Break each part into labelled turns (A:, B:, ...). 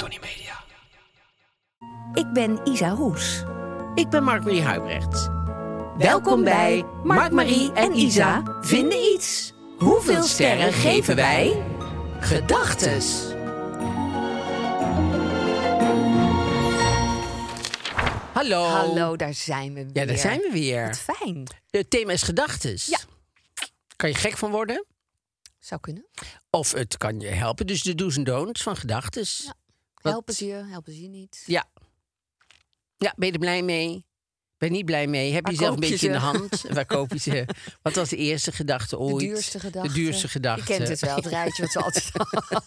A: Tony Media.
B: Ik ben Isa Hoes.
C: Ik ben Mark-Marie Huibrecht.
B: Welkom bij Mark-Marie en Isa vinden iets.
C: Hoeveel sterren geven wij? Gedachtes. Hallo.
B: Hallo, daar zijn we weer.
C: Ja, daar zijn we weer.
B: Wat fijn.
C: Het thema is gedachtes.
B: Ja.
C: Kan je gek van worden?
B: Zou kunnen.
C: Of het kan je helpen. Dus de do's en don'ts van gedachtes. Ja. Wat-
B: Helpen ze je, helpen ze je niet.
C: ja. ben je er blij mee? Ben je niet blij mee? Heb
B: Waar
C: je zelf een
B: koop je
C: beetje in de
B: ze?
C: hand? Waar koop je ze? Wat was de eerste gedachte
B: De
C: ooit?
B: duurste gedachte.
C: De duurste gedachte.
B: Je kent het wel, het rijtje wat ze altijd hadden.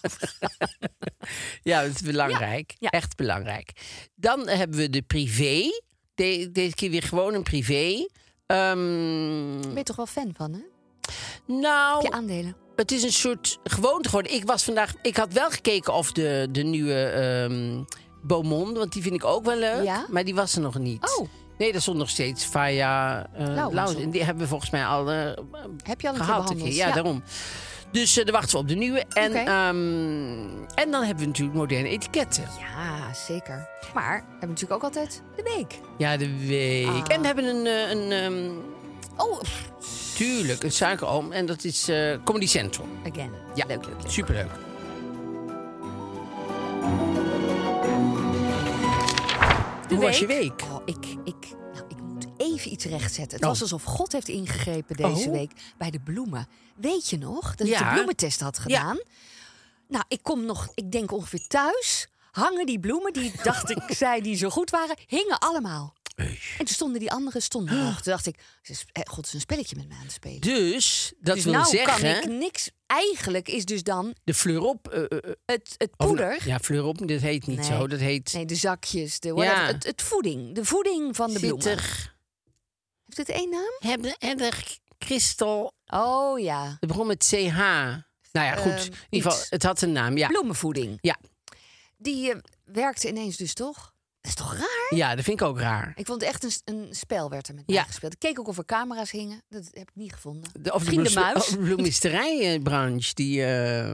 C: Ja, dat is belangrijk.
B: ja.
C: Echt belangrijk. Dan hebben we de privé. De- deze keer weer gewoon een privé. Ehm,
B: Ben je toch wel fan van, hè? Heb
C: nou,
B: je aandelen?
C: het is een soort gewoonte geworden. Ik was vandaag. Ik had wel gekeken of de, de nieuwe ehm Beaumont, want die vind ik ook wel leuk.
B: Ja?
C: Maar die was er nog niet.
B: Oh.
C: Nee, daar stond nog steeds Faya eh
B: Lauwers
C: Lauwers.
B: op.
C: En die hebben we volgens mij al eh,
B: Heb je al
C: gehaald.
B: een keer
C: een
B: behandeld?
C: keer. Ja,
B: Ja.
C: daarom. Dus eh, daar wachten we op de nieuwe. En,
B: Oké.
C: ehm, en dan hebben we natuurlijk moderne etiketten.
B: Ja, zeker. Maar we hebben natuurlijk ook altijd de week.
C: Ja, de week.
B: Ah.
C: En we hebben een, eh, een ehm,
B: Oh, pff,
C: tuurlijk, een suikeroom. En dat is eh, Comedy Central.
B: again.
C: Ja,
B: Leuk, leuk, leuk.
C: Superleuk. Hoe was je week?
B: Oh, ik, ik, nou, ik moet even iets rechtzetten. Het was alsof God heeft ingegrepen deze
C: Oh.
B: week bij de bloemen. Weet je nog dat ik
C: Ja.
B: de bloementest had gedaan? Nou, ik kom nog, ik denk ongeveer thuis. Hangen die bloemen die ik dacht ik zei die zo goed waren, hingen allemaal. En toen stonden die anderen stonden nog. Toen dacht ik, ze is- eh, God is een spelletje met me aan het spelen.
C: Dus, dat
B: dus
C: wil
B: nou
C: zeggen,
B: kan ik niks. Eigenlijk is dus dan
C: de fleur op... eh, eh, eh,
B: het, het
C: of-
B: poeder.
C: ja, fleur op, dat heet niet
B: Nee.
C: zo. Dat heet
B: Nee, de zakjes, de whatever.
C: Ja.
B: Het, het voeding, de voeding van de bloemen.
C: zittig,
B: Heeft het één naam?
C: hebber, edder, kristal.
B: Oh ja,
C: Het begon met CH. Nou ja, goed.
B: Ehm,
C: in ieder geval,
B: iets.
C: het had een naam. Ja,
B: bloemenvoeding.
C: ja.
B: Die eh, werkte ineens dus toch? Dat is toch raar?
C: ja dat vind ik ook raar.
B: Ik vond echt een, s- een spel werd er met mij
C: Ja.
B: gespeeld. Ik keek ook of er camera's hingen. Dat heb ik niet gevonden.
C: De, of de,
B: Misschien de
C: bloes-
B: muis.
C: of de bloemisterijbranche die, eh,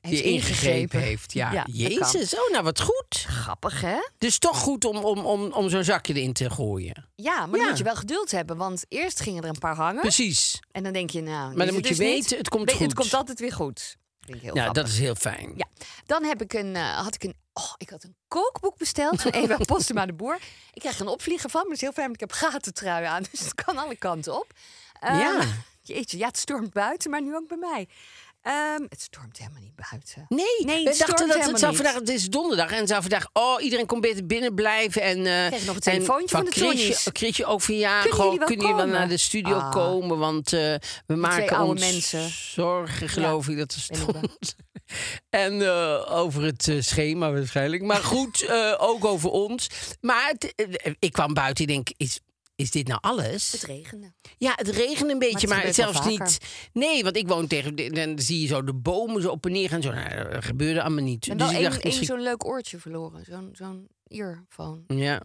C: die ingegrepen heeft. Ja,
B: dat kan.
C: Jezus. Oh, nou wat goed.
B: Grappig, hè?
C: Dus toch goed om, om, om, om zo'n zakje erin te gooien.
B: Ja, maar dan
C: Ja.
B: moet je wel geduld hebben. Want eerst gingen er een paar hangen.
C: Precies.
B: En dan denk je, nou...
C: Maar
B: is
C: dan moet
B: het
C: je
B: dus niet.
C: weten, het komt
B: Weet-
C: goed.
B: Het komt altijd weer goed. Vind ik heel
C: Nou,
B: grappig.
C: dat is heel fijn.
B: Ja, dan heb ik een, eh, had ik een, oh, ik had een kookboek besteld van Eva Postema de Boer. Ik kreeg een opvlieger van, maar het is heel fijn, want ik heb gatentrui aan, dus het kan alle kanten op. Ehm,
C: Ja.
B: Jeetje, ja, het stormt buiten, maar nu ook bij mij. Ehm, het stormt helemaal niet buiten.
C: Nee,
B: Nee, het
C: we
B: stormt
C: dachten dat
B: helemaal
C: het zou
B: niet.
C: vandaag, het is donderdag en het zou vandaag, oh, iedereen kon beter binnen blijven. En eh
B: kreeg nog een
C: en
B: telefoontje van de
C: Chrisje-
B: Tonnies.
C: Chrisje ook van ja,
B: Kunnen
C: gewoon,
B: jullie wel
C: kunnen jullie wel
B: komen?
C: naar de studio
B: Ah.
C: komen? Want eh, we maken
B: oude
C: ons
B: mensen.
C: zorgen, geloof
B: Ja,
C: ik, dat er
B: ben ik wel.
C: stond. En eh, over het eh, schema waarschijnlijk. Maar goed, eh, ook over ons. Maar het- eh, ik kwam buiten, ik denk, is, is dit nou alles?
B: Het regende.
C: Ja, het regent een beetje, maar,
B: gebeurt wel
C: zelfs
B: vaker.
C: niet. Nee, want ik woon tegen. Dan zie je zo de bomen zo op en neer gaan. Zo, nou, dat gebeurde allemaal niet.
B: Ik
C: dus
B: ben wel
C: ik
B: één
C: dacht
B: één
C: misschien.
B: zo'n leuk oortje verloren, zo'n zo'n earphone,
C: Ja,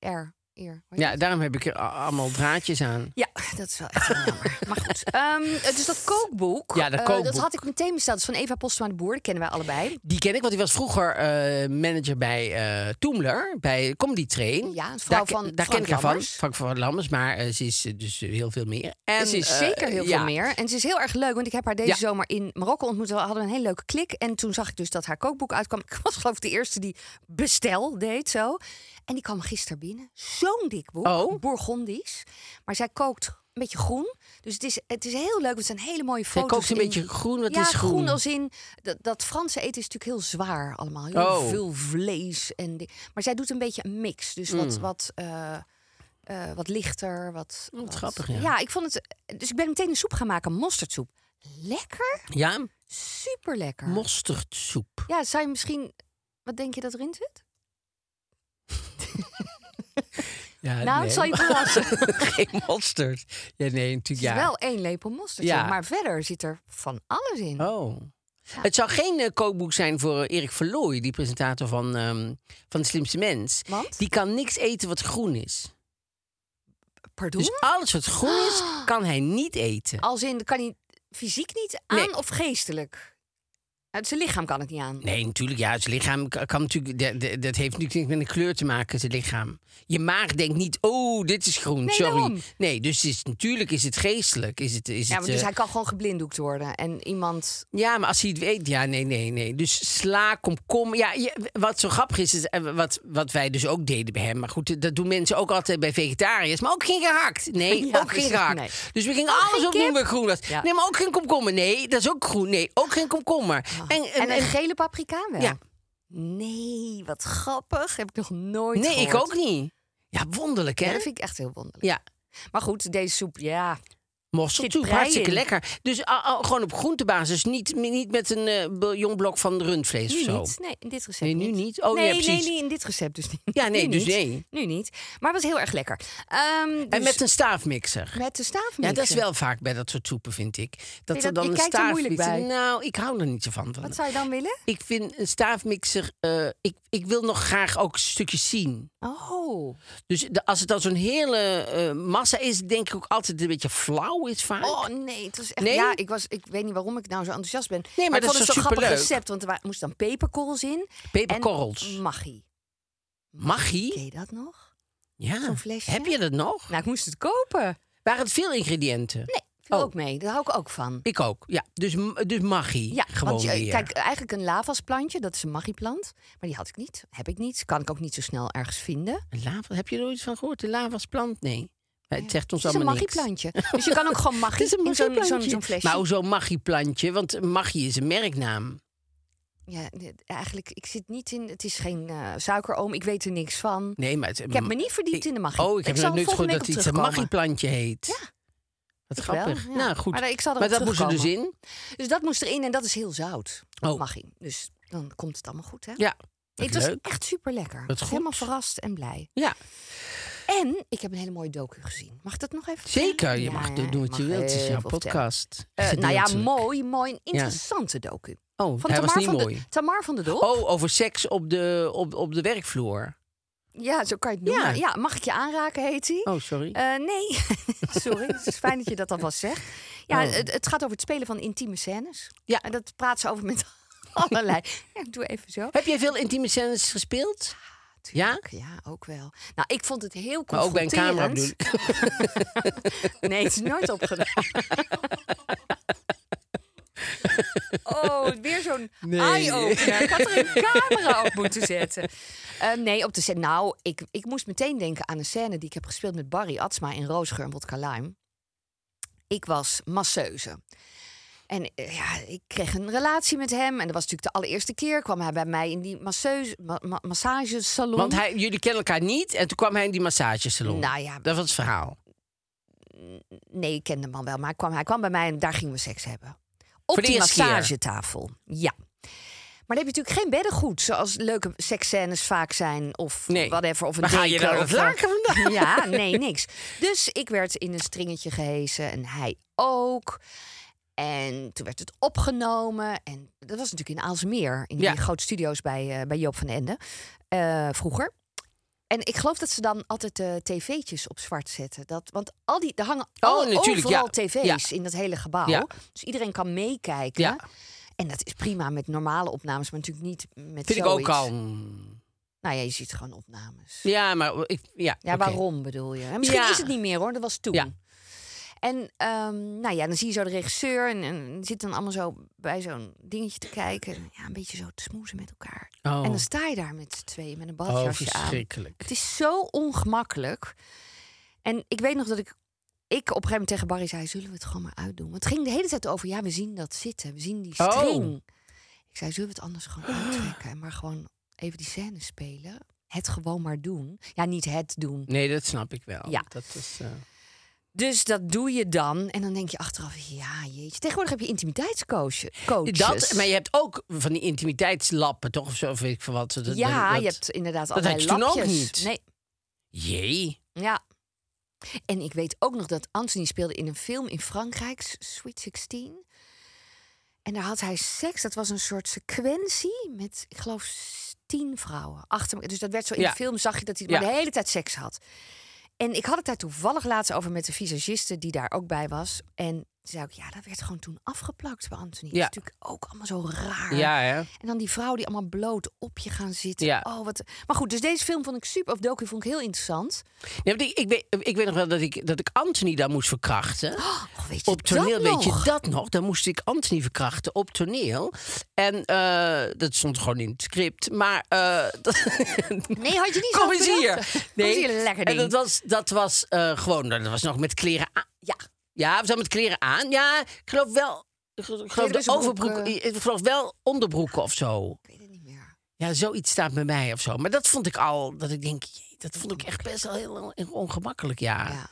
B: air. eer. Hoor je
C: Ja, daarom heb ik er a- allemaal draadjes aan.
B: Ja, dat is wel echt heel jammer. Maar goed. Ehm, dus dat kookboek.
C: Ja, dat
B: eh,
C: kookboek.
B: dat had ik meteen besteld. Dat is van Eva Postma de Boer. Die kennen wij allebei.
C: Die ken ik, want die was vroeger eh, manager bij eh Toemler, bij Comedy Train.
B: Ja, het verhaal
C: ken-
B: van
C: daar ken
B: Frank
C: ik haar van,
B: Lammers.
C: Frank van Lammers, maar eh, ze is eh, dus eh, heel veel meer.
B: En ze is
C: eh,
B: zeker heel
C: ja.
B: veel meer. En ze is heel erg leuk. Want ik heb haar deze
C: Ja.
B: zomer in Marokko ontmoet. We hadden een hele leuke klik. En toen zag ik dus dat haar kookboek uitkwam. Ik was geloof ik de eerste die bestel deed zo. En die kwam gisteren binnen. Zo'n dik boek.
C: Oh.
B: Bourgondisch. Maar zij kookt een beetje groen. Dus het is, het is heel leuk. Het zijn hele mooie
C: Zij
B: foto's.
C: kookt een
B: in-
C: beetje groen, wat
B: ja,
C: is groen?
B: als in dat, dat Franse eten is natuurlijk heel zwaar allemaal. Heel
C: Oh.
B: veel vlees en di- maar zij doet een beetje een mix, dus
C: Mm.
B: wat wat eh, eh, wat lichter, wat, wat-
C: Oh, grappig, ja.
B: ik vond het. Dus ik ben meteen een soep gaan maken, mosterdsoep. Lekker,
C: Ja,
B: super lekker.
C: mosterdsoep.
B: ja, zou je misschien wat denk je dat erin zit?
C: Ja,
B: nou,
C: nee.
B: het zal je verrassen. Het
C: Geen mosterd. Ja, nee, natuurlijk
B: is
C: ja.
B: wel één lepel mosterd,
C: Ja.
B: maar verder zit er van alles in.
C: Oh. Het zou geen eh, kookboek zijn voor eh, Erik Verlooy, die presentator van, ehm, van De Slimste Mens.
B: Want?
C: Die kan niks eten wat groen is.
B: Pardon?
C: Dus alles wat groen is,
B: Ah.
C: kan hij niet eten.
B: Als in kan hij fysiek niet aan
C: Nee.
B: of geestelijk? Uit zijn lichaam kan het niet aan.
C: Nee, natuurlijk. Ja, zijn lichaam kan, kan natuurlijk. de- de- Dat heeft natuurlijk niks met een kleur te maken, zijn lichaam. Je maag denkt niet, oh, dit is groen,
B: Nee,
C: sorry.
B: daarom.
C: Nee, dus het is, natuurlijk is het geestelijk. Is het, is
B: Ja,
C: het,
B: maar dus
C: eh,
B: hij kan gewoon geblinddoekt worden. En iemand.
C: Ja, maar als hij het weet, ja, nee, nee, nee. Dus sla, komkom. Ja, je- wat zo grappig is, is eh, wat, wat wij dus ook deden bij hem. Maar goed, dat doen mensen ook altijd bij vegetariërs. Maar ook geen gehakt. Nee,
B: Ja,
C: ook geen
B: precies,
C: gehakt.
B: nee.
C: Dus we gingen
B: Ook
C: alles
B: geen
C: opnieuw
B: kip?
C: met groen. was.
B: Ja.
C: Nee, maar ook geen komkommer. Nee, dat is ook groen. Nee, ook geen komkommer. En, en-
B: Ah. En een
C: en-
B: gele paprika wel.
C: Ja.
B: Nee, wat grappig. Heb ik nog nooit
C: nee, ik
B: gehoord.
C: ook niet. Ja, wonderlijk, hè?
B: Ja,
C: Ja,
B: dat vind ik echt heel wonderlijk. Maar goed, deze soep, ja.
C: Mossel
B: Zit
C: toe,
B: prei
C: hartstikke
B: in.
C: lekker. Dus ah, ah, gewoon op groentebasis, niet, niet met een eh, bouillonblok van rundvlees
B: Nu
C: of zo.
B: niet. Nee, in dit recept
C: Nee, nu niet. Oh,
B: nee,
C: ja,
B: nee,
C: precies.
B: nee, in dit recept dus niet.
C: Ja, nee,
B: Nu
C: dus
B: niet.
C: nee.
B: Nu niet. Maar het was heel erg lekker. Ehm,
C: En
B: dus
C: met een staafmixer.
B: met de staaf
C: Ja, dat is wel vaak bij dat soort soepen, vind ik. Dat
B: je
C: er
B: dat-
C: dan
B: je
C: een
B: kijkt er moeilijk
C: staafmixer...
B: bij.
C: Nou, ik hou er niet zo van.
B: Wat zou je dan willen?
C: Ik vind een staafmixer... eh, ik, ik wil nog graag ook stukjes zien.
B: Oh.
C: Dus de- als het dan zo'n hele eh, massa is... denk ik ook altijd een beetje flauw is vaak.
B: Oh nee, het was echt.
C: Nee?
B: Ja, ik, was, ik weet niet waarom ik nou zo enthousiast ben.
C: maar
B: ik
C: dat
B: vond
C: is
B: het zo'n
C: toch
B: grappig
C: superleuk?
B: recept, want er wa- moest dan peperkorrels in.
C: Peperkorrels.
B: En magie.
C: Maggie?
B: Ken je dat nog?
C: Ja.
B: zo'n flesje?
C: Heb je dat nog?
B: Nou, ik moest het kopen.
C: Waren het veel ingrediënten?
B: Nee, viel
C: Oh.
B: ook mee. Daar hou ik ook van.
C: Ik ook, ja. Dus, m- dus Maggie.
B: Ja,
C: gewoon
B: want je-
C: weer.
B: kijk, eigenlijk een lavasplantje, dat is een magieplant. Maar die had ik niet, heb ik niet. Kan ik ook niet zo snel ergens vinden.
C: Een lava, heb je er ooit van gehoord? De lavasplant? Nee. Het zegt ons
B: Het is een
C: allemaal niks.
B: magieplantje. Dus je kan ook gewoon
C: Het is
B: magie
C: een
B: in zo'n zo'n
C: magieplantje.
B: zo'n flesje.
C: Maar hoezo magieplantje? Want magie is een merknaam.
B: Ja, dit- eigenlijk, ik zit niet in... Het is geen eh, suikeroom, ik weet er niks van.
C: Nee, maar het,
B: Ik heb me niet verdiept in de magie.
C: Oh, ik heb
B: zal
C: nog nooit
B: volgende
C: gehoord
B: week
C: dat
B: op
C: iets een
B: terugkomen.
C: magieplantje heet. Ja. Wat
B: Ik wel,
C: grappig.
B: ja.
C: Nou, goed.
B: Maar ik zal erop
C: maar dat moest er dus in.
B: Dus dat moest erin en dat is heel zout.
C: Oh.
B: Magie. Dus dan komt het allemaal goed, hè?
C: Ja.
B: het
C: Wat
B: was
C: leuk.
B: echt super lekker.
C: Wat goed.
B: Helemaal verrast en blij.
C: Ja,
B: En ik heb een hele mooie docu gezien. Mag ik dat nog even?
C: zeker. Je
B: Ja,
C: mag
B: ja,
C: doen
B: ik
C: wat je
B: mag
C: wilt. Het is
B: even
C: jouw
B: vertellen.
C: podcast.
B: Eh, nou ja,
C: Gedeeltelijk.
B: mooi, mooi. Een interessante docu.
C: Oh, hij was
B: Tamar
C: niet
B: van
C: mooi.
B: De, Tamar van de Dol.
C: Oh, over seks op de, op, op de werkvloer.
B: Ja, zo kan je het noemen.
C: Ja.
B: Ja, mag ik je aanraken, heet hij.
C: Oh, sorry.
B: Eh, nee, sorry. Het is fijn dat je dat alvast zegt. Ja,
C: Oh.
B: het, het gaat over het spelen van intieme scènes.
C: Ja.
B: En dat praat ze over met allerlei. Ja, ik doe even zo.
C: Heb jij veel intieme scènes gespeeld? Ja?
B: Ah, Tuurlijk, Ja, ook wel. Nou, ik vond het heel
C: Maar ook bij een
B: confronterend.
C: camera bedoel ik.
B: Nee, het is nooit opgedaan. Oh, weer zo'n eye-opener. Ik had er een camera op moeten zetten. Eh, nee, op de scène. Nou, ik, ik moest meteen denken aan een scène die ik heb gespeeld met Barry Atsma in Roosgeur en Wodka Lime. Ik was masseuse. En eh, ja, ik kreeg een relatie met hem. En dat was natuurlijk de allereerste keer. Kwam hij bij mij in die masseuse, ma- ma- massagesalon.
C: Want hij, jullie kennen elkaar niet. En toen kwam hij in die massagesalon.
B: Nou ja.
C: Dat was het verhaal.
B: Nee, ik kende hem al wel, maar hij kwam, hij kwam bij mij en daar gingen we seks hebben. Op
C: Voor de
B: die
C: eerste keer?
B: massagetafel. Ja. Maar dan heb je natuurlijk geen beddengoed, zoals leuke seksscènes vaak zijn. Of
C: Nee.
B: whatever. Of een
C: Waar ga je
B: deken
C: nou
B: of
C: dat
B: een-
C: laken vandaan?
B: Ja, nee, niks. Dus ik werd in een stringetje gehesen en hij ook. En toen werd het opgenomen. En dat was natuurlijk in Aalsmeer. In
C: Ja.
B: die grote studio's bij, eh, bij Joop van den Ende. eh, vroeger. En ik geloof dat ze dan altijd eh tv'tjes op zwart zetten. Dat, want al die, er hangen
C: Oh,
B: alle-
C: natuurlijk, ja.
B: overal tv's
C: Ja.
B: in dat hele gebouw.
C: Ja.
B: Dus iedereen kan meekijken.
C: Ja.
B: En dat is prima met normale opnames, maar natuurlijk niet met
C: Vind ik
B: zoiets.
C: ook al. mm,
B: Nou ja, je ziet gewoon opnames.
C: Ja, maar ik, ja.
B: Ja,
C: oké.
B: waarom bedoel je? En Misschien
C: Ja.
B: is het niet meer hoor, dat was toen.
C: Ja.
B: En ehm, nou ja, dan zie je zo de regisseur en, en zit dan allemaal zo bij zo'n dingetje te kijken. Ja, een beetje zo te smoezen met elkaar.
C: Oh.
B: En dan sta je daar met z'n tweeën met een
C: Oh,
B: badjasje aan.
C: verschrikkelijk.
B: Het is zo ongemakkelijk. En ik weet nog dat ik, ik op een gegeven moment tegen Barry zei, zullen we het gewoon maar uitdoen? Want het ging de hele tijd over, ja, we zien dat zitten. We zien die
C: Oh.
B: string. Ik zei, zullen we het anders gewoon uittrekken? En maar gewoon even die scène spelen. Het gewoon maar doen. Ja, niet het doen.
C: Nee, dat snap ik wel.
B: Ja.
C: Dat is, eh,
B: Dus dat doe je dan. En dan denk je achteraf, ja jeetje. Tegenwoordig heb je intimiteitscoaches.
C: dat, maar je hebt ook van die intimiteitslappen, toch? Of zo, of weet ik veel wat. Dat- dat-
B: ja,
C: dat-
B: je hebt inderdaad
C: dat
B: allerlei
C: had je toen ook
B: lapjes.
C: niet.
B: Nee,
C: Jee.
B: ja. En ik weet ook nog dat Anthony speelde in een film in Frankrijk, S- Sweet 16. En daar had hij seks. Dat was een soort sequentie met, ik geloof, s- tien vrouwen. Achter, elkaar. dus dat werd zo in
C: Ja.
B: de film, zag je dat hij
C: Ja.
B: maar de hele tijd seks had. En ik had het daar toevallig laatst over met de visagiste die daar ook bij was. En toen zei ik, ja, dat werd gewoon toen afgeplakt bij Anthony.
C: Ja.
B: Dat is natuurlijk ook allemaal zo raar.
C: Ja, hè?
B: En dan die vrouwen die allemaal bloot op je gaan zitten.
C: Ja.
B: Oh, wat... Maar goed, dus deze film vond ik super, of docu vond ik heel interessant.
C: Nee, want ik, ik, weet, ik weet nog wel dat ik, dat ik Anthony daar moest verkrachten.
B: Oh, weet je
C: Op toneel,
B: dat
C: weet
B: nog?
C: je dat nog? Dan moest ik Anthony verkrachten op toneel. En eh, dat stond gewoon in het script. Maar eh, dat-
B: Nee, had je niet
C: Kom
B: zelf
C: eens
B: bedacht?
C: hier.
B: Kom eens hier, lekker
C: En
B: ding.
C: dat was, dat was eh, gewoon, dat was nog met kleren aan.
B: Ja.
C: Ja, we zaten met kleren aan. Ja, ik geloof wel. Ik geloof, de
B: dus broek,
C: overbroek,
B: eh.
C: ik geloof wel onderbroeken of zo.
B: Ik weet het niet meer.
C: Ja, zoiets staat bij mij of zo. Maar dat vond ik al, dat ik denk, jee, dat vond ik echt best wel heel on- ongemakkelijk, ja.
B: Ja.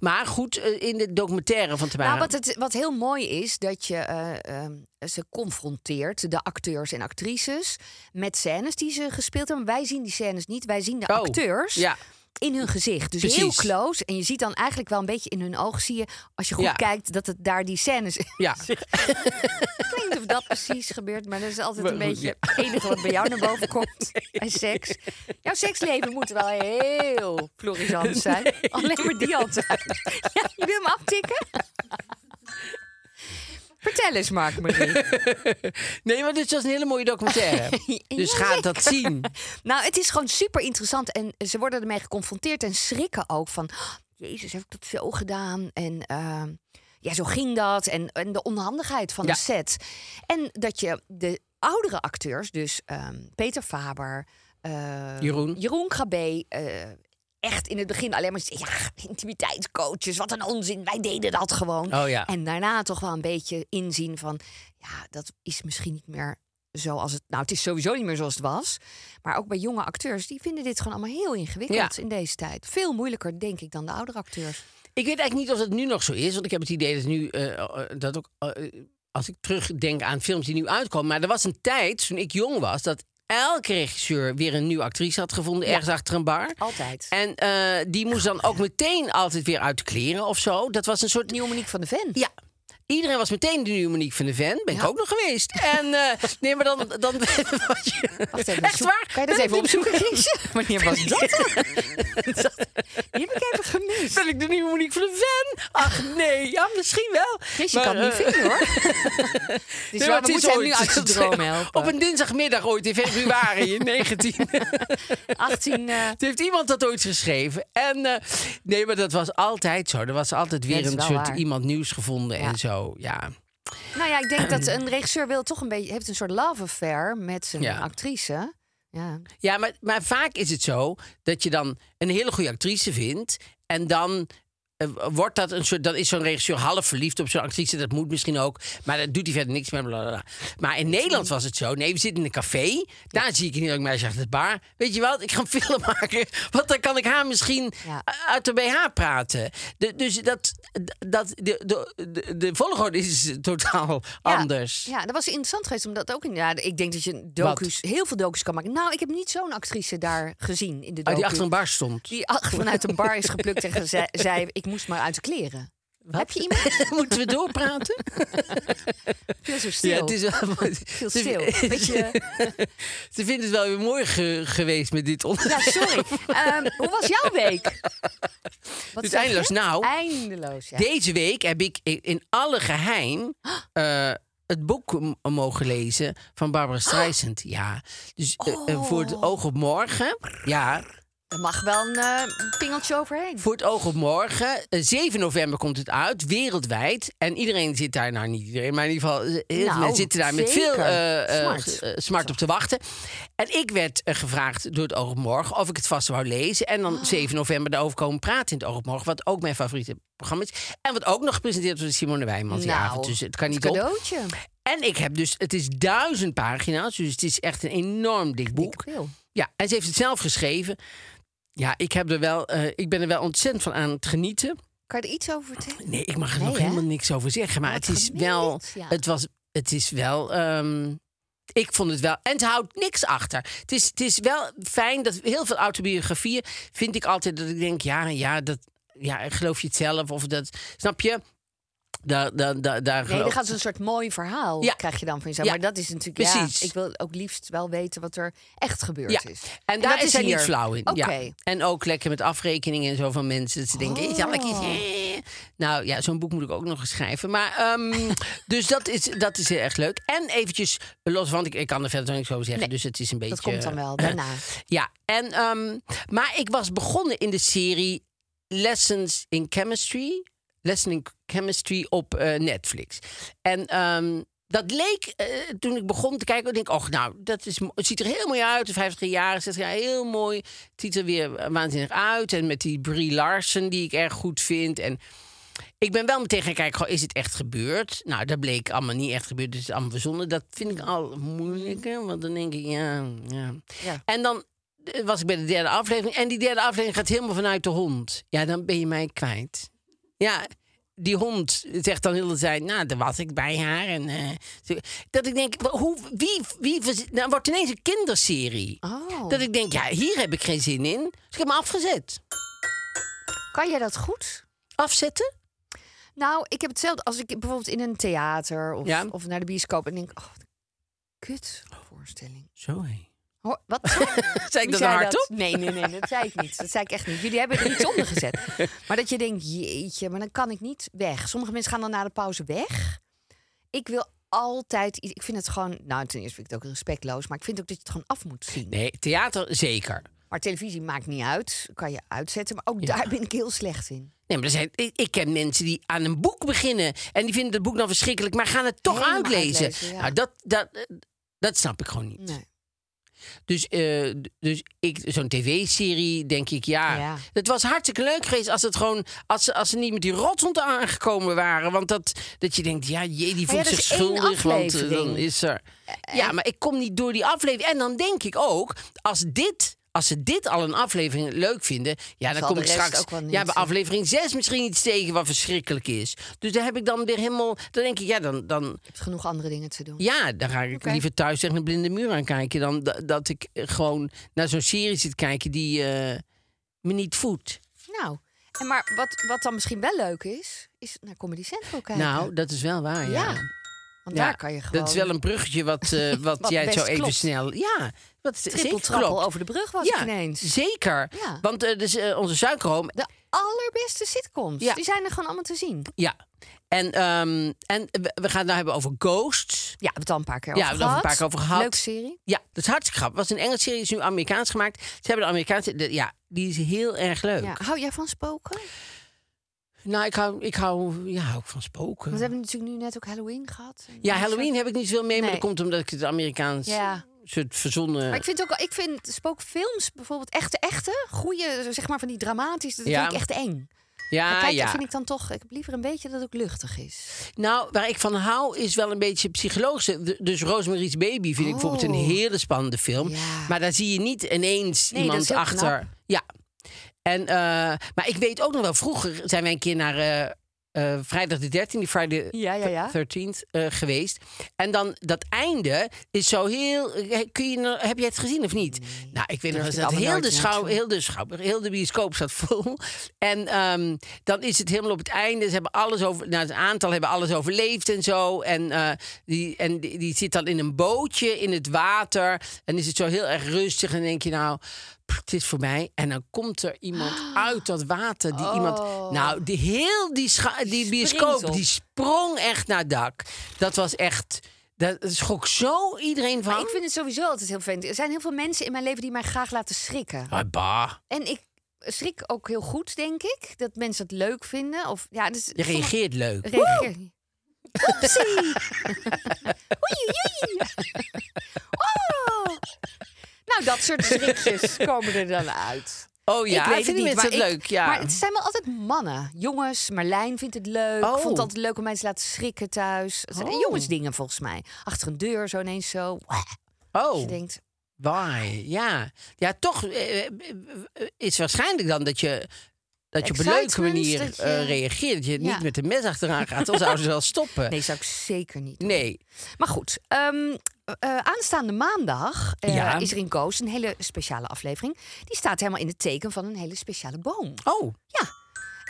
C: Maar goed, eh, in de documentaire van Tamara.
B: Nou, wat, het, wat heel mooi is, dat je eh, ehm, ze confronteert, de acteurs en actrices, met scènes die ze gespeeld hebben. Wij zien die scènes niet, wij zien de
C: Oh,
B: acteurs
C: ja.
B: in hun gezicht. Dus heel
C: Precies.
B: close. En je ziet dan eigenlijk wel een beetje in hun oog, zie je, als je goed
C: Ja.
B: kijkt, dat het daar die scènes...
C: Ja.
B: Ik weet niet of dat precies gebeurt, maar dat is altijd
C: Maar
B: een
C: goed,
B: beetje het enige wat bij jou naar boven komt bij seks. Jouw seksleven moet wel heel florissant zijn. Alleen maar die altijd. Ja, je wil hem aftikken? Vertel eens, Mark Marie.
C: Nee, maar dit was een hele mooie documentaire. dus ga
B: Jazeker.
C: dat zien.
B: Nou, het is gewoon super interessant en ze worden ermee geconfronteerd en schrikken ook van... "Oh, Jezus, heb ik dat zo gedaan? En eh, ja, zo ging dat. En, en de onhandigheid van
C: Ja.
B: de set. En dat je de oudere acteurs, dus ehm, Peter Faber... eh,
C: Jeroen.
B: Jeroen Krabbe... eh, Echt in het begin alleen maar zei, ja, intimiteitscoaches, wat een onzin. Wij deden dat gewoon.
C: Oh ja.
B: En daarna toch wel een beetje inzien van, ja, dat is misschien niet meer zoals het. Nou, het is sowieso niet meer zoals het was. Maar ook bij jonge acteurs, die vinden dit gewoon allemaal heel ingewikkeld
C: Ja.
B: in deze tijd. Veel moeilijker, denk ik, dan de oudere acteurs.
C: Ik weet eigenlijk niet of dat nu nog zo is. Want ik heb het idee dat nu eh, eh, dat ook. eh, als ik terugdenk aan films die nu uitkomen. Maar er was een tijd, toen ik jong was, dat elke regisseur weer een nieuwe actrice had gevonden. Ergens achter een bar.
B: Altijd.
C: En eh, die moest dan ook meteen altijd weer uit de kleren of zo. Dat was een soort.
B: Nieuwe Monique van de Ven.
C: Ja. Iedereen was meteen de nieuwe Monique van de Ven. Ben ik ook nog geweest. En eh, nee, maar dan... dan was je...
B: Wacht even,
C: Echt
B: zoek-
C: waar?
B: Kan je dat
C: Ben
B: even
C: ik de-
B: opzoeken, Chris? Wanneer was dat? dan? Die heb ik even gemist.
C: Ben ik de nieuwe Monique van de Ven? Ach nee, ja, misschien wel.
B: Chris, je
C: Maar,
B: kan het
C: eh,
B: niet vinden, hoor. Dus
C: Nee,
B: wel,
C: maar
B: we
C: het is
B: moeten hem nu
C: ooit.
B: uit zijn droom helpen.
C: Op een dinsdagmiddag ooit in februari in 19.
B: 18... eh,
C: Het heeft iemand dat ooit geschreven. En eh, nee, maar dat was altijd zo. Er was altijd weer
B: Nee, dat is
C: een
B: wel
C: soort
B: waar.
C: iemand nieuws gevonden
B: Ja.
C: en zo. Ja.
B: Nou ja, ik denk dat een regisseur wil toch een beetje heeft een soort love affair met zijn
C: Ja.
B: actrice. Ja.
C: Ja, maar, maar vaak is het zo dat je dan een hele goede actrice vindt. En dan eh, wordt dat een soort. Dan is zo'n regisseur half verliefd op zo'n actrice. Dat moet misschien ook. Maar dat doet hij verder niks mee. blablabla. Maar in Nederland was het zo. Nee, we zitten in een café. Daar zie ik een heel leuk meisje achter de bar. Weet je wat? Ik ga een film maken. Want dan kan ik haar misschien
B: Ja.
C: uit de BH praten. De- dus dat, dat, de, de, de, de volgorde is totaal anders.
B: Ja, dat was interessant geweest omdat ook in. Ja, ik denk dat je docu's, heel veel docu's kan maken. Nou, ik heb niet zo'n actrice daar gezien in
C: Uit
B: de docu.
C: die achter een bar stond.
B: Die ach- vanuit een bar is geplukt en geze- zei: ik moest maar uit de kleren.
C: Wat?
B: Heb je iemand?
C: Moeten we doorpraten?
B: Veel zo stil.
C: Ja, het is wel...
B: Veel stil. Beetje-
C: Ze vinden het wel weer mooi ge- geweest met dit onderwerp.
B: Ja, sorry. Ehm, hoe was jouw week? Wat
C: Dus
B: zeg je?
C: eindeloos. Nou,
B: Eindeloos, ja.
C: Deze week heb ik i- in alle geheim eh, het boek m- mogen lezen van Barbara Streisand. Ja, dus eh, eh, voor
B: Oh.
C: het oog op morgen. Ja,
B: Er mag wel een eh, pingeltje overheen.
C: voor het oog op morgen. Eh, 7 november komt het uit, wereldwijd. En iedereen zit daar, nou niet iedereen, maar in ieder geval eh, heel veel
B: Nou,
C: mensen zitten daar met
B: zeker.
C: veel eh, eh,
B: Smart.
C: g- eh, smart op te wachten. En ik werd eh, gevraagd door het oog op morgen of ik het vast wou lezen. En dan 7 november daarover komen praten in het oog op morgen. Wat ook mijn favoriete programma is. En wat ook nog gepresenteerd wordt door Simone Wijnmans die
B: Nou,
C: avond. Dus het kan
B: een
C: niet op.
B: cadeautje.
C: En ik heb dus, het is duizend pagina's, dus het is echt een enorm dik boek.
B: Dikke pil.
C: Ja, en ze heeft het zelf geschreven. Ja, ik, heb er wel, eh, ik ben er wel ontzettend van aan het genieten.
B: Kan je er iets over vertellen?
C: Nee, ik mag er
B: Nee,
C: nog
B: hè?
C: helemaal niks over zeggen. Maar
B: Wat
C: het is,
B: gemeen,
C: wel,
B: ja.
C: het, was, het is wel. ehm, ik vond het wel. En ze houdt niks achter. Het is, het is wel fijn dat heel veel autobiografieën. vind ik altijd dat ik denk: ja, ja, dat, ja geloof je het zelf? Of dat. Snap je? Daar, daar, daar, daar
B: Nee, dan
C: geloof-
B: gaat dus zo'n soort mooi verhaal,
C: Ja.
B: krijg je dan van jezelf.
C: Ja,
B: Maar dat is natuurlijk,
C: precies.
B: ja, ik wil ook liefst wel weten wat er echt gebeurd
C: Ja,
B: is.
C: en, daar
B: dat
C: is zij niet
B: hier.
C: flauw in.
B: Oké.
C: Ja. En ook lekker met afrekeningen en zo van mensen. Dat ze denken, "Eh, zal ik iets...
B: Oh.
C: eh?" Nou ja, zo'n boek moet ik ook nog eens schrijven. Maar, ehm, dus dat is, dat is heel erg leuk. En eventjes los, want ik, ik kan er verder niks over zeggen. dus het is een beetje...
B: Dat komt dan wel daarna.
C: Ja, en, ehm, maar ik was begonnen in de serie Lessons in Chemistry. Lesson in Chemistry op eh, Netflix. En ehm, dat leek, eh, toen ik begon te kijken, ik denk oh nou, dat is, mo- het ziet er heel mooi uit. De 50 jaar, 60 jaar, heel mooi. Het ziet er weer eh, waanzinnig uit. En met die Brie Larson, die ik erg goed vind. En ik ben wel meteen gaan kijken, goh, is het echt gebeurd? Nou, dat bleek allemaal niet echt gebeurd. Dus het is allemaal verzonnen. Dat vind ik al moeilijker, want dan denk ik, ja, ja.
B: Ja.
C: En dan eh, was ik bij de derde aflevering. En die derde aflevering gaat helemaal vanuit de hond. Ja, dan ben je mij kwijt. Ja, die hond zegt dan heel de tijd, nou, daar was ik bij haar. En, eh, zo- dat ik denk, wa- hoe, wie, wie, verzi- nou, wordt ineens een kinderserie.
B: Oh.
C: Dat ik denk, ja, hier heb ik geen zin in. Dus ik heb me afgezet.
B: Kan jij dat goed?
C: Afzetten?
B: Nou, ik heb hetzelfde als ik bijvoorbeeld in een theater of,
C: Ja.
B: of naar de bioscoop en denk, oh, wat een kut voorstelling.
C: Zo, hé.
B: Hoor, wat? Wie
C: Zei ik dat
B: zei
C: hardop?
B: Nee, nee, nee, dat zei ik niet. Dat zei ik echt niet. Jullie hebben er iets onder gezet. Maar dat je denkt, jeetje, maar dan kan ik niet weg. Sommige mensen gaan dan na de pauze weg. Ik wil altijd iets. Ik vind het gewoon, nou, ten eerste vind ik het ook respectloos, maar ik vind ook dat je het gewoon af moet zien.
C: Nee, theater zeker.
B: Maar televisie maakt niet uit, kan je uitzetten, maar ook daar ben ik heel slecht in.
C: Nee, maar er zijn, ik, ik ken mensen die aan een boek beginnen. En die vinden het boek dan verschrikkelijk, maar gaan het toch
B: Helemaal
C: uitlezen.
B: uitlezen, ja.
C: Nou, dat, dat, eh, dat snap ik gewoon niet.
B: Nee.
C: Dus, eh, d- dus ik, zo'n tv-serie, denk ik, ja.
B: Ja.
C: Het was hartstikke leuk geweest als, het gewoon, als, ze- als ze niet met die rothond aangekomen waren. Want dat, dat je denkt, ja, jee, die
B: ja,
C: voelt
B: dat
C: zich
B: is één
C: schuldig. Want eh, dan
B: aflevering. Eh,
C: is er. Ja, maar ik kom niet door die aflevering. En dan denk ik ook, als dit. Als ze dit al een aflevering leuk vinden, ja, dan
B: Zal
C: kom
B: de
C: ik
B: rest
C: straks
B: ook wel niet, eh.
C: ja, bij
B: hè?
C: aflevering 6 misschien iets tegen wat verschrikkelijk is. Dus daar heb ik dan weer helemaal. Dan denk ik, ja, dan, dan,
B: Je hebt genoeg andere dingen te doen.
C: ja, dan ga ik
B: Oké.
C: liever thuis tegen een blinde muur aan kijken... dan da- dat ik eh, gewoon naar zo'n serie zit kijken die eh, me niet voedt.
B: Nou, en maar wat, wat dan misschien wel leuk is, is naar Comedy Central kijken.
C: Nou, dat is wel waar, ja.
B: Ja, Want daar
C: Ja,
B: kan je gewoon...
C: Dat is wel een bruggetje wat, eh, wat,
B: Wat
C: jij zo
B: best
C: even
B: klopt.
C: snel... Ja, wat zeker
B: trippeltrappel
C: klopt.
B: over de brug was
C: ja,
B: ik ineens.
C: zeker.
B: Ja.
C: Want eh, dus, eh, onze suikerroom...
B: De allerbeste sitcoms.
C: Ja.
B: Die zijn er gewoon allemaal te zien.
C: Ja. En, ehm, en we we gaan het nou hebben over ghosts.
B: Ja, we hebben het al een paar keer
C: Ja, we
B: over
C: hebben het
B: gehad.
C: al een paar keer over gehad.
B: Leuke serie.
C: Ja, dat is hartstikke grappig. was een Engelse serie, is nu Amerikaans gemaakt. Ze hebben de Amerikaanse... de- ja, die is heel erg leuk.
B: Ja. Hou jij van spoken?
C: Nou, ik hou, ik hou ja, ook van spoken.
B: Want we hebben natuurlijk nu net ook Halloween gehad. En
C: Ja,
B: dat
C: Halloween
B: soort-
C: heb ik niet zoveel mee, maar dat
B: Nee.
C: komt omdat ik het Amerikaans
B: Ja.
C: soort verzonnen.
B: Maar ik vind ook, wel- ik vind spookfilms bijvoorbeeld echte, echte, goede, zeg maar van die dramatische, dat
C: Ja.
B: vind ik echt eng. maar
C: ja,
B: kijk,
C: ja.
B: vind ik dan toch, ik heb liever een beetje dat het ook luchtig is.
C: Nou, waar ik van hou is wel een beetje psychologische. D- Dus Rosemary's Baby vind ik bijvoorbeeld een
B: Oh.
C: hele spannende film.
B: Ja.
C: Maar daar zie je niet ineens
B: Nee, dat
C: iemand
B: is heel
C: achter.
B: knap.
C: Ja. En, eh, maar ik weet ook nog wel, vroeger zijn wij een keer naar eh, eh, vrijdag de 13e, Friday
B: Ja, ja, ja.
C: 13th eh, geweest. En dan dat einde is zo heel. eh, Kun je, nou- heb je het gezien of niet? Nou, ik weet nog
B: Durf
C: eens
B: ik
C: dat
B: allemaal
C: heel de,
B: nooit meer
C: schouw,
B: naartoe.
C: heel, de schouw, heel de bioscoop zat vol. En ehm, dan is het helemaal op het einde. Ze hebben alles over. Nou, een aantal hebben alles overleefd en zo. En, eh, die, en die, die zit dan in een bootje in het water. En is het zo heel erg rustig. En denk je nou. pff, Het is voorbij. En dan komt er iemand uit dat water. Die iemand, nou, die, heel die, scha- die bioscoop
B: Oh. op.
C: die sprong echt naar het dak. Dat was echt. Dat schrok zo iedereen van.
B: Maar ik vind het sowieso altijd heel vervelend. Er zijn heel veel mensen in mijn leven die mij graag laten schrikken.
C: Ah, bah.
B: En ik schrik ook heel goed, denk ik. Dat mensen het leuk vinden. Of, ja, dus
C: Je reageert leuk.
B: Reageer. Oepsie. Oei, oei, oei. Oh. Nou, dat soort schrikjes komen er dan uit.
C: Oh ja,
B: ik weet
C: vinden
B: het niet,
C: mensen
B: maar
C: het
B: ik-
C: leuk? Ja.
B: Maar het zijn wel altijd mannen. Jongens, Marlijn vindt het leuk.
C: Oh.
B: Ik vond het altijd leuk om mensen te laten schrikken thuis. Het zijn
C: Oh.
B: jongensdingen volgens mij. Achter een deur zo ineens zo.
C: oh.
B: Je denkt,
C: Why? Ja. Ja, toch eh, eh, eh, is waarschijnlijk dan dat je, dat je op een leuke
B: Excitement,
C: manier
B: dat je-
C: eh, reageert. Dat je
B: Ja.
C: niet met een mes achteraan gaat. Dan zouden ze wel stoppen.
B: nee, zou ik zeker niet doen.
C: Nee.
B: Maar goed, ehm, eh, aanstaande maandag eh,
C: Ja.
B: is er in Koos een hele speciale aflevering. Die staat helemaal in het teken van een hele speciale boom.
C: Oh.
B: Ja.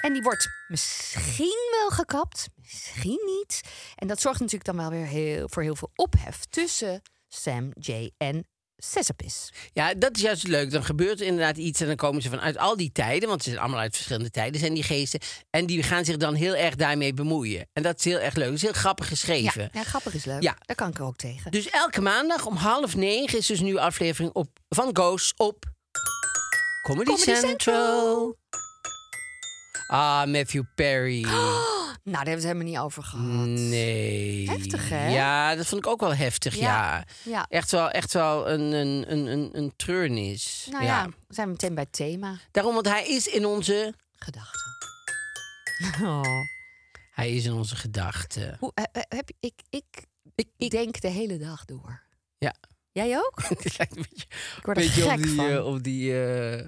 B: En die wordt misschien wel gekapt, misschien niet. En dat zorgt natuurlijk dan wel weer heel, voor heel veel ophef tussen Sam, Jay en Sesapis.
C: Ja, dat is juist leuk. Dan gebeurt er inderdaad iets en dan komen ze vanuit al die tijden, want ze zijn allemaal uit verschillende tijden, zijn die geesten. En die gaan zich dan heel erg daarmee bemoeien. En dat is heel erg leuk. Dat is heel grappig
B: Ja,
C: geschreven.
B: ja, grappig is leuk.
C: Ja.
B: Daar kan ik er ook tegen.
C: Dus elke maandag om half negen is dus een nieuwe aflevering op, van Ghost op Comedy,
B: Comedy
C: Central.
B: Central.
C: Ah, Matthew Perry.
B: Nou, daar hebben we het helemaal niet over gehad.
C: Mm, Nee.
B: Heftig, hè?
C: Ja, dat vond ik ook wel heftig, ja.
B: Ja, ja.
C: Echt wel, echt wel een, een, een, een, een treurnis.
B: Nou ja, we zijn meteen bij het thema.
C: Daarom, want hij is in onze...
B: Gedachten. Oh.
C: Hij is in onze gedachten.
B: Hoe, he- he- heb, je- ik, ik, denk de hele dag door.
C: Ja.
B: Jij ook?
C: Het lijkt een beetje,
B: Ik word er
C: beetje op
B: gek
C: die,
B: van.
C: eh, op die, eh,